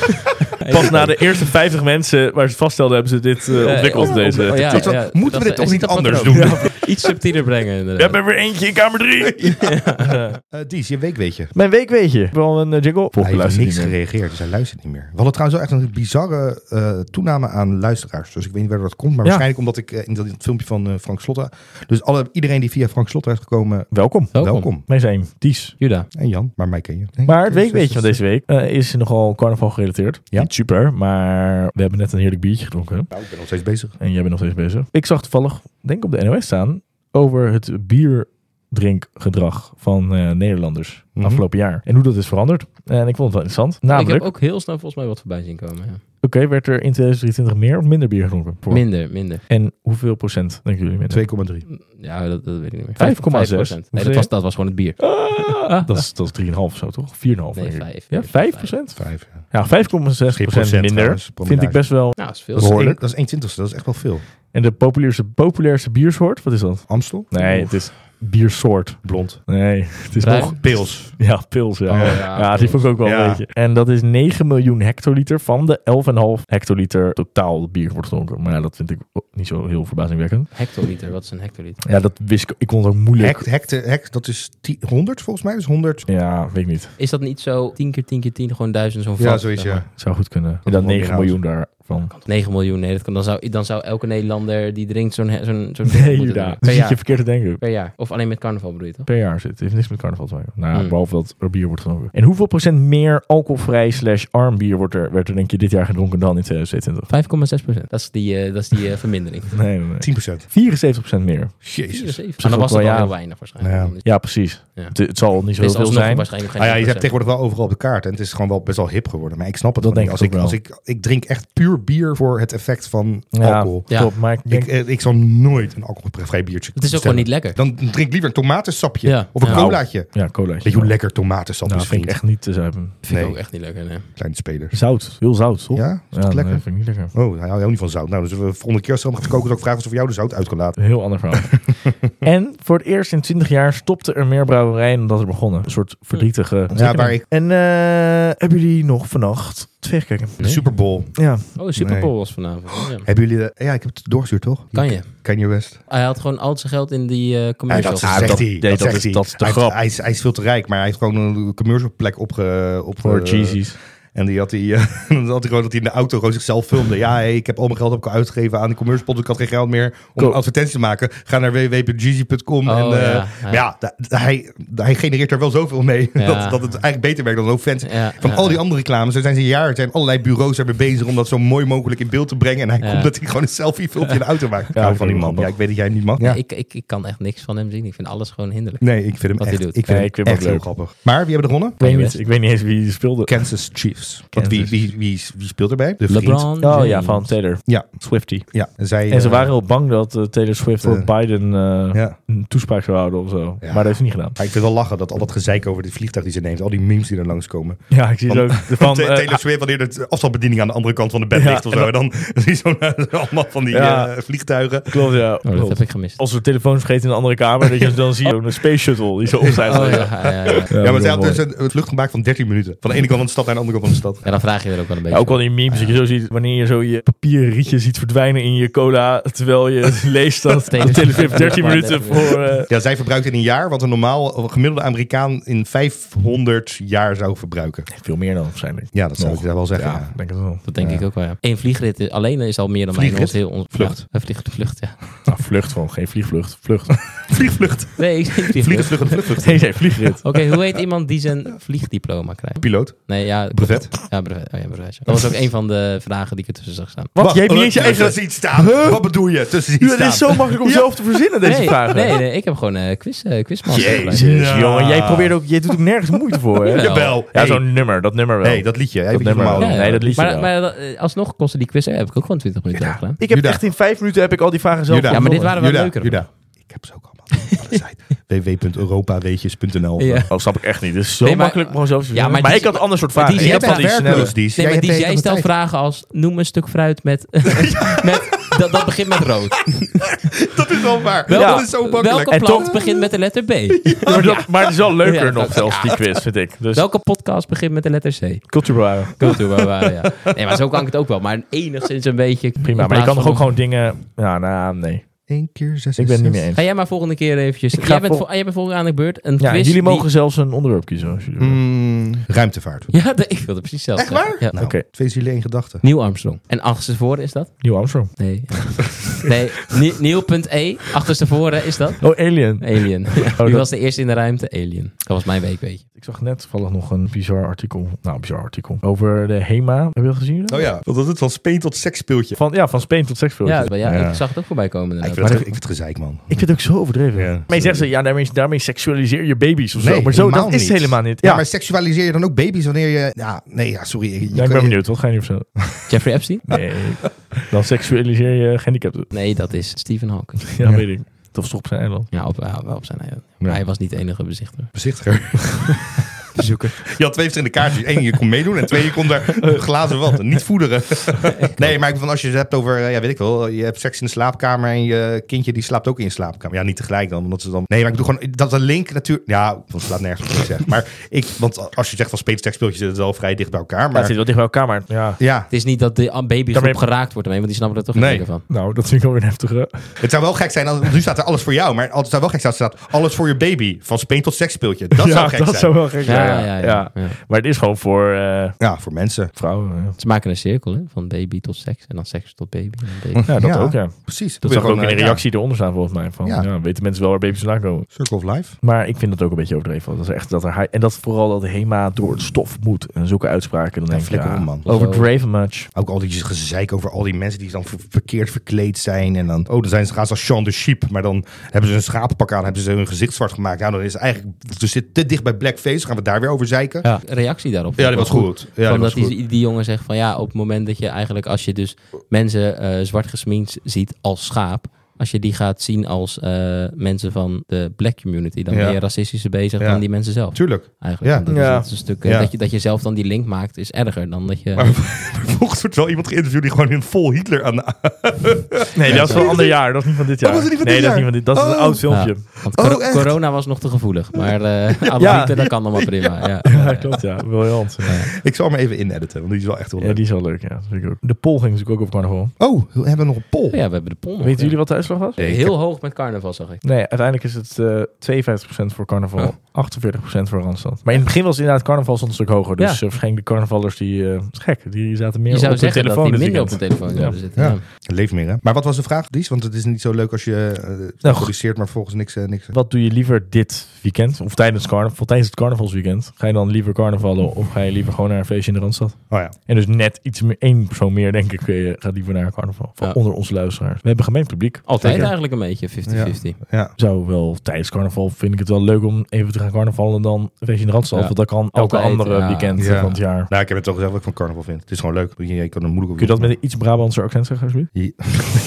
S4: Pas na de eerste 50 mensen waar ze vaststelden, hebben ze dit eh, ontwikkeld.
S2: Ja,
S4: deze.
S2: ja,
S1: Dat-
S2: ja,
S1: moeten we
S2: dat-
S1: dit
S2: er
S1: toch
S2: zit
S1: niet
S2: een
S1: anders
S2: patroon.
S1: doen?
S2: Ja, Iets subtieler brengen.
S4: We
S2: inderdaad.
S4: hebben er weer eentje in kamer 3.
S1: Eh, Dies, je week weet je.
S4: Mijn week weet je. Ik heb wel een eh, jingle.
S1: Hij heeft niks gereageerd, dus hij luistert niet meer. We hadden trouwens wel echt een bizarre eh, toename aan luisteraars. Dus ik weet niet waar dat komt, maar
S4: Ja.
S1: waarschijnlijk omdat ik eh, in dat in het filmpje van eh, Frank Slotta... Dus alle, iedereen die via Frank Slotta is gekomen,
S4: Welkom.
S2: Welkom.
S1: welkom.
S4: Wij zijn Ties.
S2: Juda.
S1: En Jan, maar mij ken je.
S4: Maar het weekweetje van deze week eh, is nogal carnaval gerelateerd.
S1: Ja.
S4: Niet super, maar we hebben net een heerlijk biertje gedronken.
S1: Nou, ik ben nog steeds bezig.
S4: En jij bent nog steeds bezig. Ik zag toevallig, denk ik, op de NOS staan over het bierdrinkgedrag van eh, Nederlanders
S1: Mhm.
S4: afgelopen jaar. En hoe dat is veranderd. En ik vond het wel interessant.
S2: Ik
S4: Namelijk,
S2: heb
S4: oké,
S2: ook heel snel volgens mij wat voorbij zien komen. ja.
S4: werd er in 2023 meer of minder bier gedronken? Voor-
S2: Minder, minder.
S4: En hoeveel procent denken jullie minder?
S1: 2,3.
S2: Ja, dat, dat weet ik niet meer.
S4: 5,6.
S2: 5%. Nee, dat was, dat was gewoon het bier.
S4: Ah, dat, is, dat is 3,5 zo, toch? 4,5.
S2: Nee,
S4: denk ik.
S2: 5.
S4: Ja, 5 procent?
S1: Vijf, ja.
S4: Ja, 5,6 procent
S1: procent
S4: minder
S1: trouwens,
S4: vind ik best wel.
S2: Nou, dat is
S1: Dat
S2: veel.
S1: is,
S4: Behoorlijk.
S1: één- dat is 1 twintigste, dat is echt wel veel.
S4: En de populairste, populairste biersoort, wat is dat?
S1: Amstel?
S4: Nee,
S1: Of
S4: het is biersoort.
S1: blond.
S4: Nee, het is
S2: Bruin?
S4: nog...
S1: Pils.
S4: Ja, pils, ja.
S2: Oh,
S4: ja,
S2: ja,
S4: die
S2: pils.
S4: vond ik ook wel
S1: Ja.
S4: een beetje. En dat is 9 miljoen hectoliter van de 11,5 hectoliter totaal bier wordt gedronken. Maar ja, dat vind ik niet zo heel verbazingwekkend.
S2: Hectoliter, wat is een hectoliter?
S4: Ja, dat wist ik... Ik kon het ook moeilijk...
S1: Hek, hek, hek, dat is 10 100 volgens mij, dus 100.
S4: Ja, weet ik niet.
S2: Is dat niet zo 10 keer 10 keer 10, gewoon duizend zo'n
S1: Ja,
S2: vat,
S1: zoiets,
S2: zeg maar?
S1: ja.
S4: Zou goed kunnen. En
S1: is
S4: dan
S1: wel
S4: 9 miljoen daarvan.
S2: 9 miljoen, nee, dat kan, dan, zou, dan zou elke Nederlander die drinkt zo'n he- zo'n zo'n
S4: Nee,
S2: moeten
S4: Juda.
S2: drinken.
S4: Dat
S2: Per
S4: zit Dus je
S2: jaar.
S4: verkeerd te denken.
S2: Per jaar. Of alleen met carnaval bedoel je toch?
S4: Per jaar zit. Het heeft niks met carnaval te maken. Nou, ja,
S2: Hmm.
S4: behalve dat er bier wordt gedronken. En hoeveel procent meer alcoholvrij slash arm bier wordt er, werd er denk je dit jaar gedronken dan in 2022?
S2: 5,6 procent. Dat is die, eh, dat is die eh, vermindering.
S4: Nee, nee, nee.
S1: 10%.
S4: 74% meer.
S1: Jezus.
S2: 4,7.
S4: zich
S2: Maar dan was het
S4: ook wel,
S2: al
S4: ja.
S2: heel weinig waarschijnlijk.
S1: Ja.
S2: Dan is-
S4: Ja, precies.
S2: Ja.
S4: Het, het zal niet zo
S2: is
S4: heel veel
S2: alsnog
S4: zijn.
S2: waarschijnlijk geen
S1: Ah ja, je
S2: 10%.
S1: hebt tegenwoordig wel overal op de kaart. En het is gewoon wel best wel hip geworden. Maar ik snap het
S4: Dat
S1: wel niet.
S4: denk ik
S1: als ik,
S4: ook
S1: als ik, ik drink echt puur puur bier voor het effect van
S4: Ja,
S1: alcohol.
S2: Ja.
S4: Top, maar ik denk,
S1: Ik, eh, ik zal nooit een alcoholvrij biertje
S2: Het is ook
S1: bestellen.
S2: gewoon niet lekker.
S1: Dan drink ik liever een tomatensapje
S2: Ja.
S1: of een
S2: Ja.
S1: colaatje.
S4: ja, cola.
S1: Weet je hoe lekker tomatensap
S4: Nou,
S1: is,
S4: vind
S1: vriend?
S4: ik echt niet te zuipen.
S2: Vind
S1: Nee.
S2: ik ook echt niet lekker, nee.
S1: Kleine spelers.
S4: Zout, heel zout, toch?
S1: Ja? Is dat
S4: nee,
S1: lekker?
S4: vind ik niet lekker.
S1: Oh, hij houdt niet van zout. Nou, dus we volgende keer als we hem gaan koken, zou ik vragen of ze voor jou de zout uit kan laten.
S4: Een heel ander verhaal. en voor het eerst in 20 jaar stopte er meer brouwerijen dan dat er begonnen. Een soort verdrietige...
S1: Ja, waar ik
S4: En eh, hebben jullie nog vannacht tv gekeken?
S1: de Super Bowl.
S4: Ja.
S2: Oh, Super
S1: Nee.
S2: Bowl was vanavond. Ja.
S1: Hebben jullie de- ja, ik heb het doorgestuurd toch?
S2: Kan je.
S1: Kanye West.
S2: Hij had gewoon al zijn geld in die eh
S1: Ja,
S2: commercials.
S1: dat
S2: gezet.
S1: zegt hij.
S4: dat- nee,
S1: dat,
S4: dat
S1: zegt
S4: is-
S1: hij.
S4: dat is te
S1: Hij heeft-
S4: grap.
S1: Hij is, hij is veel te rijk, maar hij heeft gewoon een commercial plek opge, op
S4: Voor
S1: eh,
S4: Jeezy's.
S1: En die had hij, eh, dan had hij gewoon dat hij in de auto gewoon zichzelf filmde. Ja, hey, ik heb al mijn geld op uitgegeven aan de commercial pod. Ik had geen geld meer om
S4: Cool.
S1: een advertentie te maken. Ga naar www.jeezy.com.
S2: Oh,
S1: en, eh,
S2: ja,
S1: maar ja, da- da- hij, da- hij genereert er wel zoveel mee
S2: Ja.
S1: dat, dat het eigenlijk beter werkt dan ook fans.
S2: Ja,
S1: Van
S2: ja,
S1: al die
S2: ja.
S1: andere reclames, er zijn ze jaren, er zijn allerlei bureaus ermee bezig om dat zo mooi mogelijk in beeld te brengen. En hij
S2: Ja.
S1: komt dat hij gewoon een selfie filmpje in de auto maakt. Ja,
S4: Ja, ik
S1: van
S4: vind
S1: die
S4: het
S1: man.
S4: grappig.
S1: Ja, ik weet dat jij hem niet mag.
S2: Ja,
S1: Ja.
S2: ik, ik, ik kan echt niks van hem zien. Ik vind alles gewoon hinderlijk.
S1: Nee, ik vind hem
S2: Wat hij
S1: echt,
S2: doet.
S1: ik vind
S4: Nee,
S1: hem
S4: ik vind hem
S1: echt
S4: ook
S1: heel
S4: leuk.
S1: grappig. Maar wie hebben er gewonnen?
S4: Ik weet,
S2: West.
S4: niet, ik weet niet eens wie die speelde.
S1: Kansas Chiefs. Want wie,
S4: Kansas.
S1: wie, wie, wie speelde erbij? De vriend.
S2: LeBron
S4: Oh
S2: James.
S4: ja, van Taylor.
S1: Ja.
S4: Swifty.
S1: Ja, en zij,
S4: En ze
S1: eh,
S4: waren heel bang dat eh, Taylor Swift voor
S1: eh,
S4: Biden eh,
S1: Ja.
S4: een toespraak zou houden of zo.
S1: Ja.
S4: Maar dat heeft ze niet gedaan.
S1: Maar ik vind wel lachen dat al dat gezeik over dit vliegtuig die ze neemt, al die memes die er langskomen.
S4: Ja, ik zie het ook. Van,
S1: Te-
S4: eh,
S1: Taylor Swift, wanneer de afstandsbediening aan de andere kant van de bed
S4: Ja,
S1: ligt of zo. En dan zie je zo'n allemaal van die
S4: Ja.
S1: eh, vliegtuigen.
S4: klopt, ja.
S2: Oh, dat
S4: klopt.
S2: heb ik gemist.
S4: Als we telefoons vergeten in een andere kamer, dat je dan zie je een space shuttle die zo op zijn.
S2: Oh, ja, ja, ja, ja.
S1: Ja, maar
S4: dat
S1: zij had
S4: is
S1: dus een, een vlucht gemaakt van 13 minuten. Van de ene kant van de stad naar de andere kant van de stad.
S2: Ja, dan vraag je er ook wel een beetje.
S4: Ja, ook al die memes, dat je zo ziet, wanneer je zo je papieren rietje ziet verdwijnen in je cola, terwijl je leest dat de
S2: Taylor
S4: telefoon
S2: Swift
S4: 13
S2: maar
S4: minuten
S2: 13 minuten.
S4: voor... eh,
S1: Ja, zij verbruikt in een jaar wat een normaal een gemiddelde Amerikaan in 500 jaar zou verbruiken.
S4: veel meer dan waarschijnlijk.
S1: Ja, dat zou
S4: Nog.
S1: ik daar wel zeggen.
S4: Ja,
S1: ja.
S4: denk het wel.
S2: Dat denk
S1: Ja.
S2: ik ook wel, ja. Eén vliegrit is- alleen is al meer dan mijn
S1: Vliegrit?
S2: ons heel... Ons,
S1: Vlucht.
S2: Ja, een vlieg- vlucht, ja.
S4: Nou, vlucht gewoon, geen vliegvlucht. Vlucht.
S1: Vliegvlucht.
S2: Nee, ik zeg
S1: Vliegen,
S2: vliegrit.
S1: vluchten, vluchtvlucht.
S4: Nee, nee, vliegrit.
S2: Oké, hoe heet iemand die zijn vliegdiploma krijgt?
S1: Piloot.
S2: Nee, ja...
S1: Brevet.
S2: Ja, brevet. Oh, ja, brevet, ja. Dat was ook een van de vragen die ik ertussen zag staan.
S4: Wat? Je hebt niet eens je
S1: Tussen
S4: eigen...
S1: ziet staan. Wat bedoel je? Tussen ziet
S4: Het
S1: staan.
S4: is zo makkelijk om zelf te verzinnen, deze
S2: nee,
S4: vragen.
S2: Nee, nee, ik heb gewoon eh quiz, eh, quizmaster
S1: Jezus.
S2: geleid.
S4: Jezus,
S1: Ja.
S4: jongen, jij probeert ook, jij doet ook nergens moeite voor, hè?
S2: Jawel.
S1: Jawel.
S4: Ja,
S1: Hey.
S4: zo'n nummer, dat nummer wel.
S1: Nee, dat liedje. Even
S4: nummer
S1: normaal
S4: wel.
S1: doen.
S4: Ja, nee, dat liet je
S2: maar,
S4: wel.
S2: maar dat- eh, alsnog kostte die quiz, eh, heb ik ook gewoon 20 minuten
S1: Ja.
S2: over gedaan.
S4: Ik heb
S1: Juda.
S4: echt in vijf minuten heb ik al die vragen zelf
S1: Juda.
S2: Ja, maar dit
S4: verzonnen.
S2: waren wel
S1: Juda,
S2: leuker.
S1: Juda. Ik heb ze ook allemaal van de site. www.europaweetjes.nl
S2: Ja.
S4: Oh, snap ik echt niet. Het is zo
S2: Nee, maar-
S4: makkelijk om gewoon zelf te verzinnen.
S2: maar
S4: maar,
S2: die-
S4: ik had een ander soort
S2: maar
S4: vragen.
S2: die-
S4: Ik
S1: Jij
S4: heb
S1: bent
S2: hebt
S4: van die snelle.
S1: werkloos, Dies. Dus Jij
S2: Nee, maar
S1: hebt
S2: die,
S1: de
S2: jij
S1: hele
S2: stelt
S1: tijd-
S2: vragen als noem een stuk fruit met. met dat, dat begint met rood.
S1: Dat is wel waar.
S4: Welke-
S1: Dat is zo makkelijk.
S2: Welke
S4: En
S2: plant
S4: toch-
S2: begint met de letter B?
S4: Maar, dat, maar het is wel leuker
S2: Ja,
S4: nog
S2: dat-
S4: zelfs, die quiz, vind ik. Dus
S2: Welke podcast begint met de letter C?
S4: cultuur bewaren.
S2: Go to, waar waren, ja. Nee, maar zo kan ik het ook wel. Maar enigszins een beetje.
S4: Prima, maar je kan toch ook gewoon dingen... Nou, nou, nee. Dus
S1: Eén keer zes.
S4: Ik ben het niet mee eens.
S2: Ga jij maar volgende keer eventjes.
S4: Ik ga
S2: Jij bent,
S4: vol-
S2: vol- jij bent volgende aan de beurt. Een
S4: Ja, en
S2: quiz
S4: jullie
S2: die-
S4: mogen zelfs een onderwerp kiezen. Als jullie willen. Hmm.
S1: Mm, ruimtevaart.
S2: Ja, de- ik wilde precies zelf.
S1: Echt
S2: zeggen.
S1: waar?
S2: Ja.
S1: Nou,
S4: Oké.
S1: twee zielen één gedachte.
S2: Nieuw Armstrong. En achterstevoren is dat?
S4: Nieuw Armstrong.
S2: Nee. nee, nie- nieuw.e. E. Achterstevoren is dat?
S4: Oh, Alien.
S2: Alien.
S4: dat-
S2: Wie was de eerste in de ruimte? Alien. Dat was mijn week, weet je.
S4: Ik zag net toevallig nog een bizar artikel. Nou, bizar artikel. Over de HEMA. Heb je dat gezien?
S1: Oh ja. Wat was het? Van speen tot seksspeeltje.
S4: Van, ja, van Spain tot seksfilmpjes.
S2: Ja, maar ja,
S1: Ja.
S2: ik zag het ook voorbij komen.
S1: Ik
S2: inderdaad.
S1: vind, het,
S4: Maar
S1: ik
S4: dat-
S1: vind het gezeik, man.
S4: Ik vind het ook zo overdreven.
S1: Ja.
S4: Maar je zegt ze, ja, daarmee, daarmee seksualiseer je baby's of zo.
S1: Nee,
S4: maar zo, dat
S1: helemaal
S4: is het
S1: niet.
S4: helemaal niet.
S1: Ja.
S4: Ja,
S1: maar seksualiseer je dan ook baby's wanneer je... Ja, nee, ja, sorry. Je- je
S4: Ja, ik
S1: kan-
S4: ben benieuwd. Wat ga je nu vertellen?
S2: Jeffrey Epstein?
S4: Nee, dan seksualiseer je gehandicapten.
S2: Nee, dat is Stephen Hawking.
S4: Ja, weet ik. Of toch op zijn eiland.
S2: Ja, op, ja, wel op zijn eiland.
S1: Ja.
S2: Maar hij was niet de enige bezichter.
S1: Bezichtiger.
S4: Bezoeken.
S1: Je had twee verschillende kaartjes. Eén, je kon meedoen. En twee, je kon daar glazen wat. Niet voederen. Nee, maar ik bedoel, als je het hebt over... eh, Ja, weet ik wel. Je hebt seks in de slaapkamer en je kindje die slaapt ook in je slaapkamer. Ja, niet tegelijk dan. Omdat ze dan... Nee, maar ik bedoel gewoon... eh, Dat de link natuurlijk... Ja, dat slaat nergens op wat ik zeg. Maar ik... Want als je zegt van speelt seksspeeltjes, zit het wel vrij dicht bij elkaar.
S4: Maar het
S1: Maar
S4: zit wel dicht bij elkaar, maar ja.
S1: ja,
S2: Het is niet dat de ah, babygroep
S4: Daarmee-
S2: geraakt wordt ermee, want die snappen er toch
S1: Nee.
S2: geen nee. van.
S4: Nou, dat vind ik alweer een heftige.
S1: Het zou wel gek zijn, als, nu staat er alles voor jou, maar het zou wel gek zijn als er staat alles voor je baby. Van speen tot seksspeeltje. Dat
S4: ja,
S1: zou gek
S4: dat
S1: zijn.
S4: zou wel gek
S2: Ja,
S4: zijn.
S2: ja, ja, ja, ja.
S4: Maar het is gewoon voor eh,
S1: Ja, voor mensen.
S4: vrouwen. Ja,
S2: Ze maken een cirkel, hè? Van baby tot seks. En dan seks tot baby. En baby.
S4: Ja, dat
S1: Ja.
S4: ook, ja.
S1: Precies.
S4: Dat
S1: Wil je
S4: zag ik ook in
S1: gewoon,
S4: de
S1: eh,
S4: reactie eronder staan, volgens mij. Van,
S1: Ja.
S4: ja. weten mensen wel waar baby's vandaan komen.
S1: ja, circle of life.
S4: Maar ik vind dat ook een beetje overdreven. Dat is echt dat er hij- en dat vooral dat HEMA door het stof moet. En zulke uitspraken, dan
S1: Ja,
S4: denk ik,
S1: flikker
S4: ja,
S1: om, man.
S4: overdreven much.
S1: Ook al die gezeik over al die mensen die dan ver- verkeerd verkleed zijn. En dan, oh, dan zijn ze, gaan ze als Sean de Sheep. Maar dan hebben ze een schapenpak aan, hebben ze hun gezicht zwart gemaakt. Ja, dan is het eigenlijk, dus zit te dicht bij blackface, gaan we het daar weer over zeiken. Ja,
S2: Ja. Reactie daarop.
S1: die was goed. Ja, die
S2: Van
S1: was
S2: dat
S1: goed.
S2: die, die jongen zegt van ja, op het moment dat je eigenlijk als je dus mensen eh, zwart gesminkt ziet als schaap, als je die gaat zien als eh, mensen van de black community, dan
S1: Ja.
S2: ben je racistischer bezig
S1: Ja.
S2: dan die mensen zelf.
S1: Tuurlijk.
S2: Eigenlijk.
S1: Ja.
S2: Want Dat, is,
S4: Ja.
S2: dat is een stuk, eh,
S1: Ja.
S2: dat, je, dat je zelf dan die link maakt, is erger dan dat je.
S1: Maar vervolgens wordt wel iemand geïnterviewd die gewoon in vol Hitler aan de...
S4: Nee, dat is van ander jaar. Dat is niet van dit jaar.
S1: Oh, dat is niet van
S4: nee,
S1: dit
S4: dat
S1: jaar.
S4: is niet van dit. Dat is
S1: Oh.
S4: een oud filmpje.
S2: Want cor-
S1: Oh, echt?
S2: corona was nog te gevoelig, maar eh alle
S4: Ja.
S2: Hitler, dat kan allemaal prima. Ja.
S4: Ja, klopt. Ja, briljant.
S1: Ik zal hem even inediten, want die is wel echt heel
S4: Ja,
S1: leuk.
S4: die is wel leuk. Ja, dat vind ik ook. De poll ging natuurlijk ook over carnaval.
S1: Oh, we hebben nog een poll.
S2: Oh ja, we hebben de pol nog.
S4: Weten jullie wat de uitslag was?
S1: Nee, ik
S2: Heel
S1: heb-
S2: hoog met carnaval, zag ik.
S4: Nee, uiteindelijk is het eh 52% voor carnaval, 48% voor Randstad. Maar in het begin was het inderdaad carnaval stond een stuk hoger. Dus
S2: Ja.
S4: eh, waarschijnlijk de carnavallers die, eh is gek, die zaten meer
S2: Je zou
S4: op hun
S2: zeggen dat
S4: telefoon
S2: die
S4: dit
S2: minder op
S4: weekend.
S2: de telefoon zouden zitten.
S1: Ja.
S2: ja.
S1: Leef meer, hè? Maar wat was de vraag, Dies? Want het is niet zo leuk als je eh,
S4: Nou,
S1: produceert, maar volgens niks... eh, niks.
S4: Wat doe je liever dit weekend? Of tijdens, carnaval, tijdens het carnavalsweekend? Ga je dan liever carnavallen of ga je liever gewoon naar een feestje in de Randstad?
S1: Oh ja.
S4: En dus net iets meer, één persoon meer denk ik eh, gaat liever naar een carnaval. Van
S2: Ja.
S4: onder onze luisteraars. We hebben gemengd publiek.
S2: Altijd
S4: Zeker.
S2: eigenlijk een beetje 50-50.
S1: ja.
S4: Zou wel tijdens carnaval vind ik het wel leuk om even te gaan carnavallen dan een feestje in de Randstad.
S2: Ja.
S4: Want dat kan elke
S2: Altijd,
S4: andere
S2: ja.
S4: weekend
S1: Ja.
S4: van het jaar.
S1: Nou, ik heb het al gezegd wat ik van carnaval vind. Het is gewoon leuk. Je, je kan er moeilijk op...
S4: Kun je dat met een iets Brabantser accent zeggen, alsjeblieft?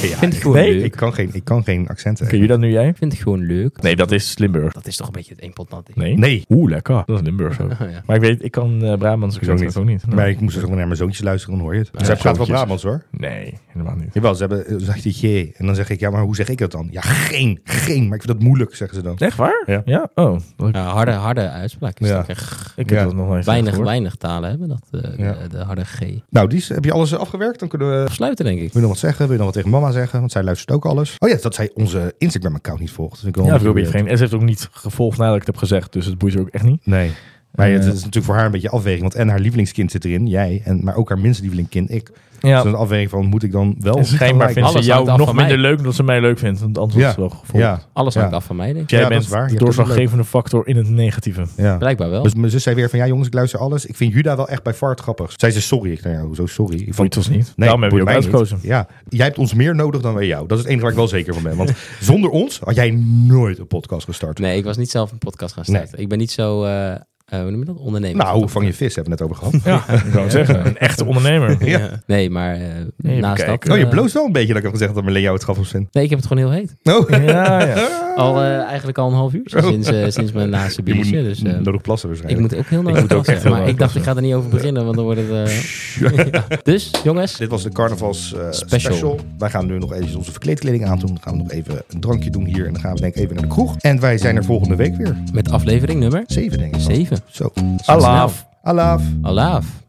S1: Ja,
S2: Vind
S1: ik,
S2: ik gewoon
S4: Nee,
S2: leuk.
S1: ik kan geen, ik kan geen accenten.
S4: Kun je dat nu jij?
S2: vind het gewoon leuk.
S4: Nee, dat is Limburg.
S2: Dat is toch een beetje het eenpot nat ding.
S4: Nee.
S1: Nee.
S4: Oeh, lekker. Dat is Limburg ook.
S2: Oh, ja.
S4: Maar ik weet, ik kan eh Brabants
S1: Ik ook
S4: accent
S1: niet.
S4: ook niet.
S1: Maar ik moest er ook naar mijn zoontjes luisteren, dan hoor je het. Zij praten wel
S4: zoontjes.
S1: Brabants, hoor.
S4: Nee, helemaal niet.
S1: Jawel, ze hebben, eh, zegt hij je. En dan zeg ik, ja, maar hoe zeg ik dat dan? Ja, geen, geen. Maar ik vind dat moeilijk, zeggen ze dan.
S4: Echt waar?
S1: Ja.
S4: Ja. Oh, dat-
S2: Ja, harde, harde uitspraak. Is
S1: Ja.
S2: dat echt
S4: ik heb
S1: Ja.
S4: dat nog nooit
S2: weinig,
S4: gehoord.
S2: weinig talen hebben dat, eh,
S1: Ja.
S2: de, de harde G.
S1: Nou, Dies, heb je alles eh, afgewerkt? Dan kunnen we... Wil
S2: Afsluiten, denk ik.
S1: je nog wat zeggen? Wil je nog wat tegen mama zeggen? Want zij luistert ook alles. Oh ja, dat zij onze Instagram-account niet volgt. Dat vind ik wel
S4: Ja,
S1: een eh,
S4: dat wil ik
S1: beetje
S4: geen. En ze heeft ook niet gevolgd nadat ik het heb gezegd. Dus het boeit er ook echt niet.
S1: weird. Nee. Maar
S4: Eh,
S1: het is natuurlijk voor haar een beetje afweging. Want en haar lievelingskind zit erin, jij. En, maar ook haar minst lievelingkind, ik. Dus
S4: Ja.
S1: dan een afweging van, moet ik dan wel...
S4: En schijnbaar
S1: liken?
S4: vindt ze
S2: Alles
S4: jou
S2: hangt af
S4: nog
S2: van mij.
S4: minder leuk dan ze mij leuk vindt. Want anders
S1: Ja.
S4: is het wel gevolgd.
S1: Ja,
S2: Alles
S1: Ja.
S2: hangt af van mij, denk ik.
S4: Jij
S1: Ja, dat
S4: bent
S1: is waar. Je
S4: de
S1: hebt het
S4: doorslaggevende factor in het negatieve.
S1: ja.
S2: Blijkbaar wel.
S1: Dus mijn zus zei weer van, ja jongens, ik luister alles. Ik vind Juda wel echt bij vaart grappig. Zij zei, sorry. Ik zei, ja, hoezo sorry? Ik vond,
S4: Boeit ons niet. Daarom hebben we je ook
S1: boeit mij
S4: uitgekozen.
S1: niet. Ja, jij hebt ons meer nodig dan wij jou. Dat is het enige waar ik wel zeker van ben. Want zonder ons had jij nooit een podcast gestart.
S2: Nee, ik was niet zelf een podcast gaan starten. Ik ben niet zo, eh, eh, hoe noem je dat? Ondernemer.
S1: Nou, vang je vis hebben we het net over gehad.
S4: Ja, ik zou het zeggen. Een echte ondernemer.
S1: ja.
S2: Nee, maar eh,
S4: even
S2: naast
S4: kijken.
S2: dat...
S1: Oh, je
S2: eh,
S1: bloost wel een beetje dat ik heb gezegd dat Marleen jou het grappig vindt.
S2: Nee, ik heb het gewoon heel heet.
S1: Oh,
S4: Ja, ja.
S2: Al eh, eigenlijk al een half uur sinds, eh, sinds mijn laatste
S1: je moet
S2: biertje. Dus eh,
S1: nodig plassen
S2: ik
S1: waarschijnlijk.
S2: moet ook heel
S4: moet
S2: nodig
S4: ook echt
S2: plassen.
S4: heel
S2: Maar
S4: nodig
S2: ik dacht, ik ga er niet over beginnen, want dan wordt het... eh, Ja. Dus, jongens,
S1: Dit was de carnavals eh, special.
S2: Special.
S1: Wij gaan nu nog eventjes onze verkleedkleding aandoen. Dan gaan we nog even een drankje doen hier. En dan gaan we denk ik even naar de kroeg. En wij zijn er volgende week weer.
S2: met aflevering nummer
S1: Zeven denk ik. dan.
S2: 7.
S1: Zo.
S2: Alaaf.
S1: Alaaf.
S2: Alaaf.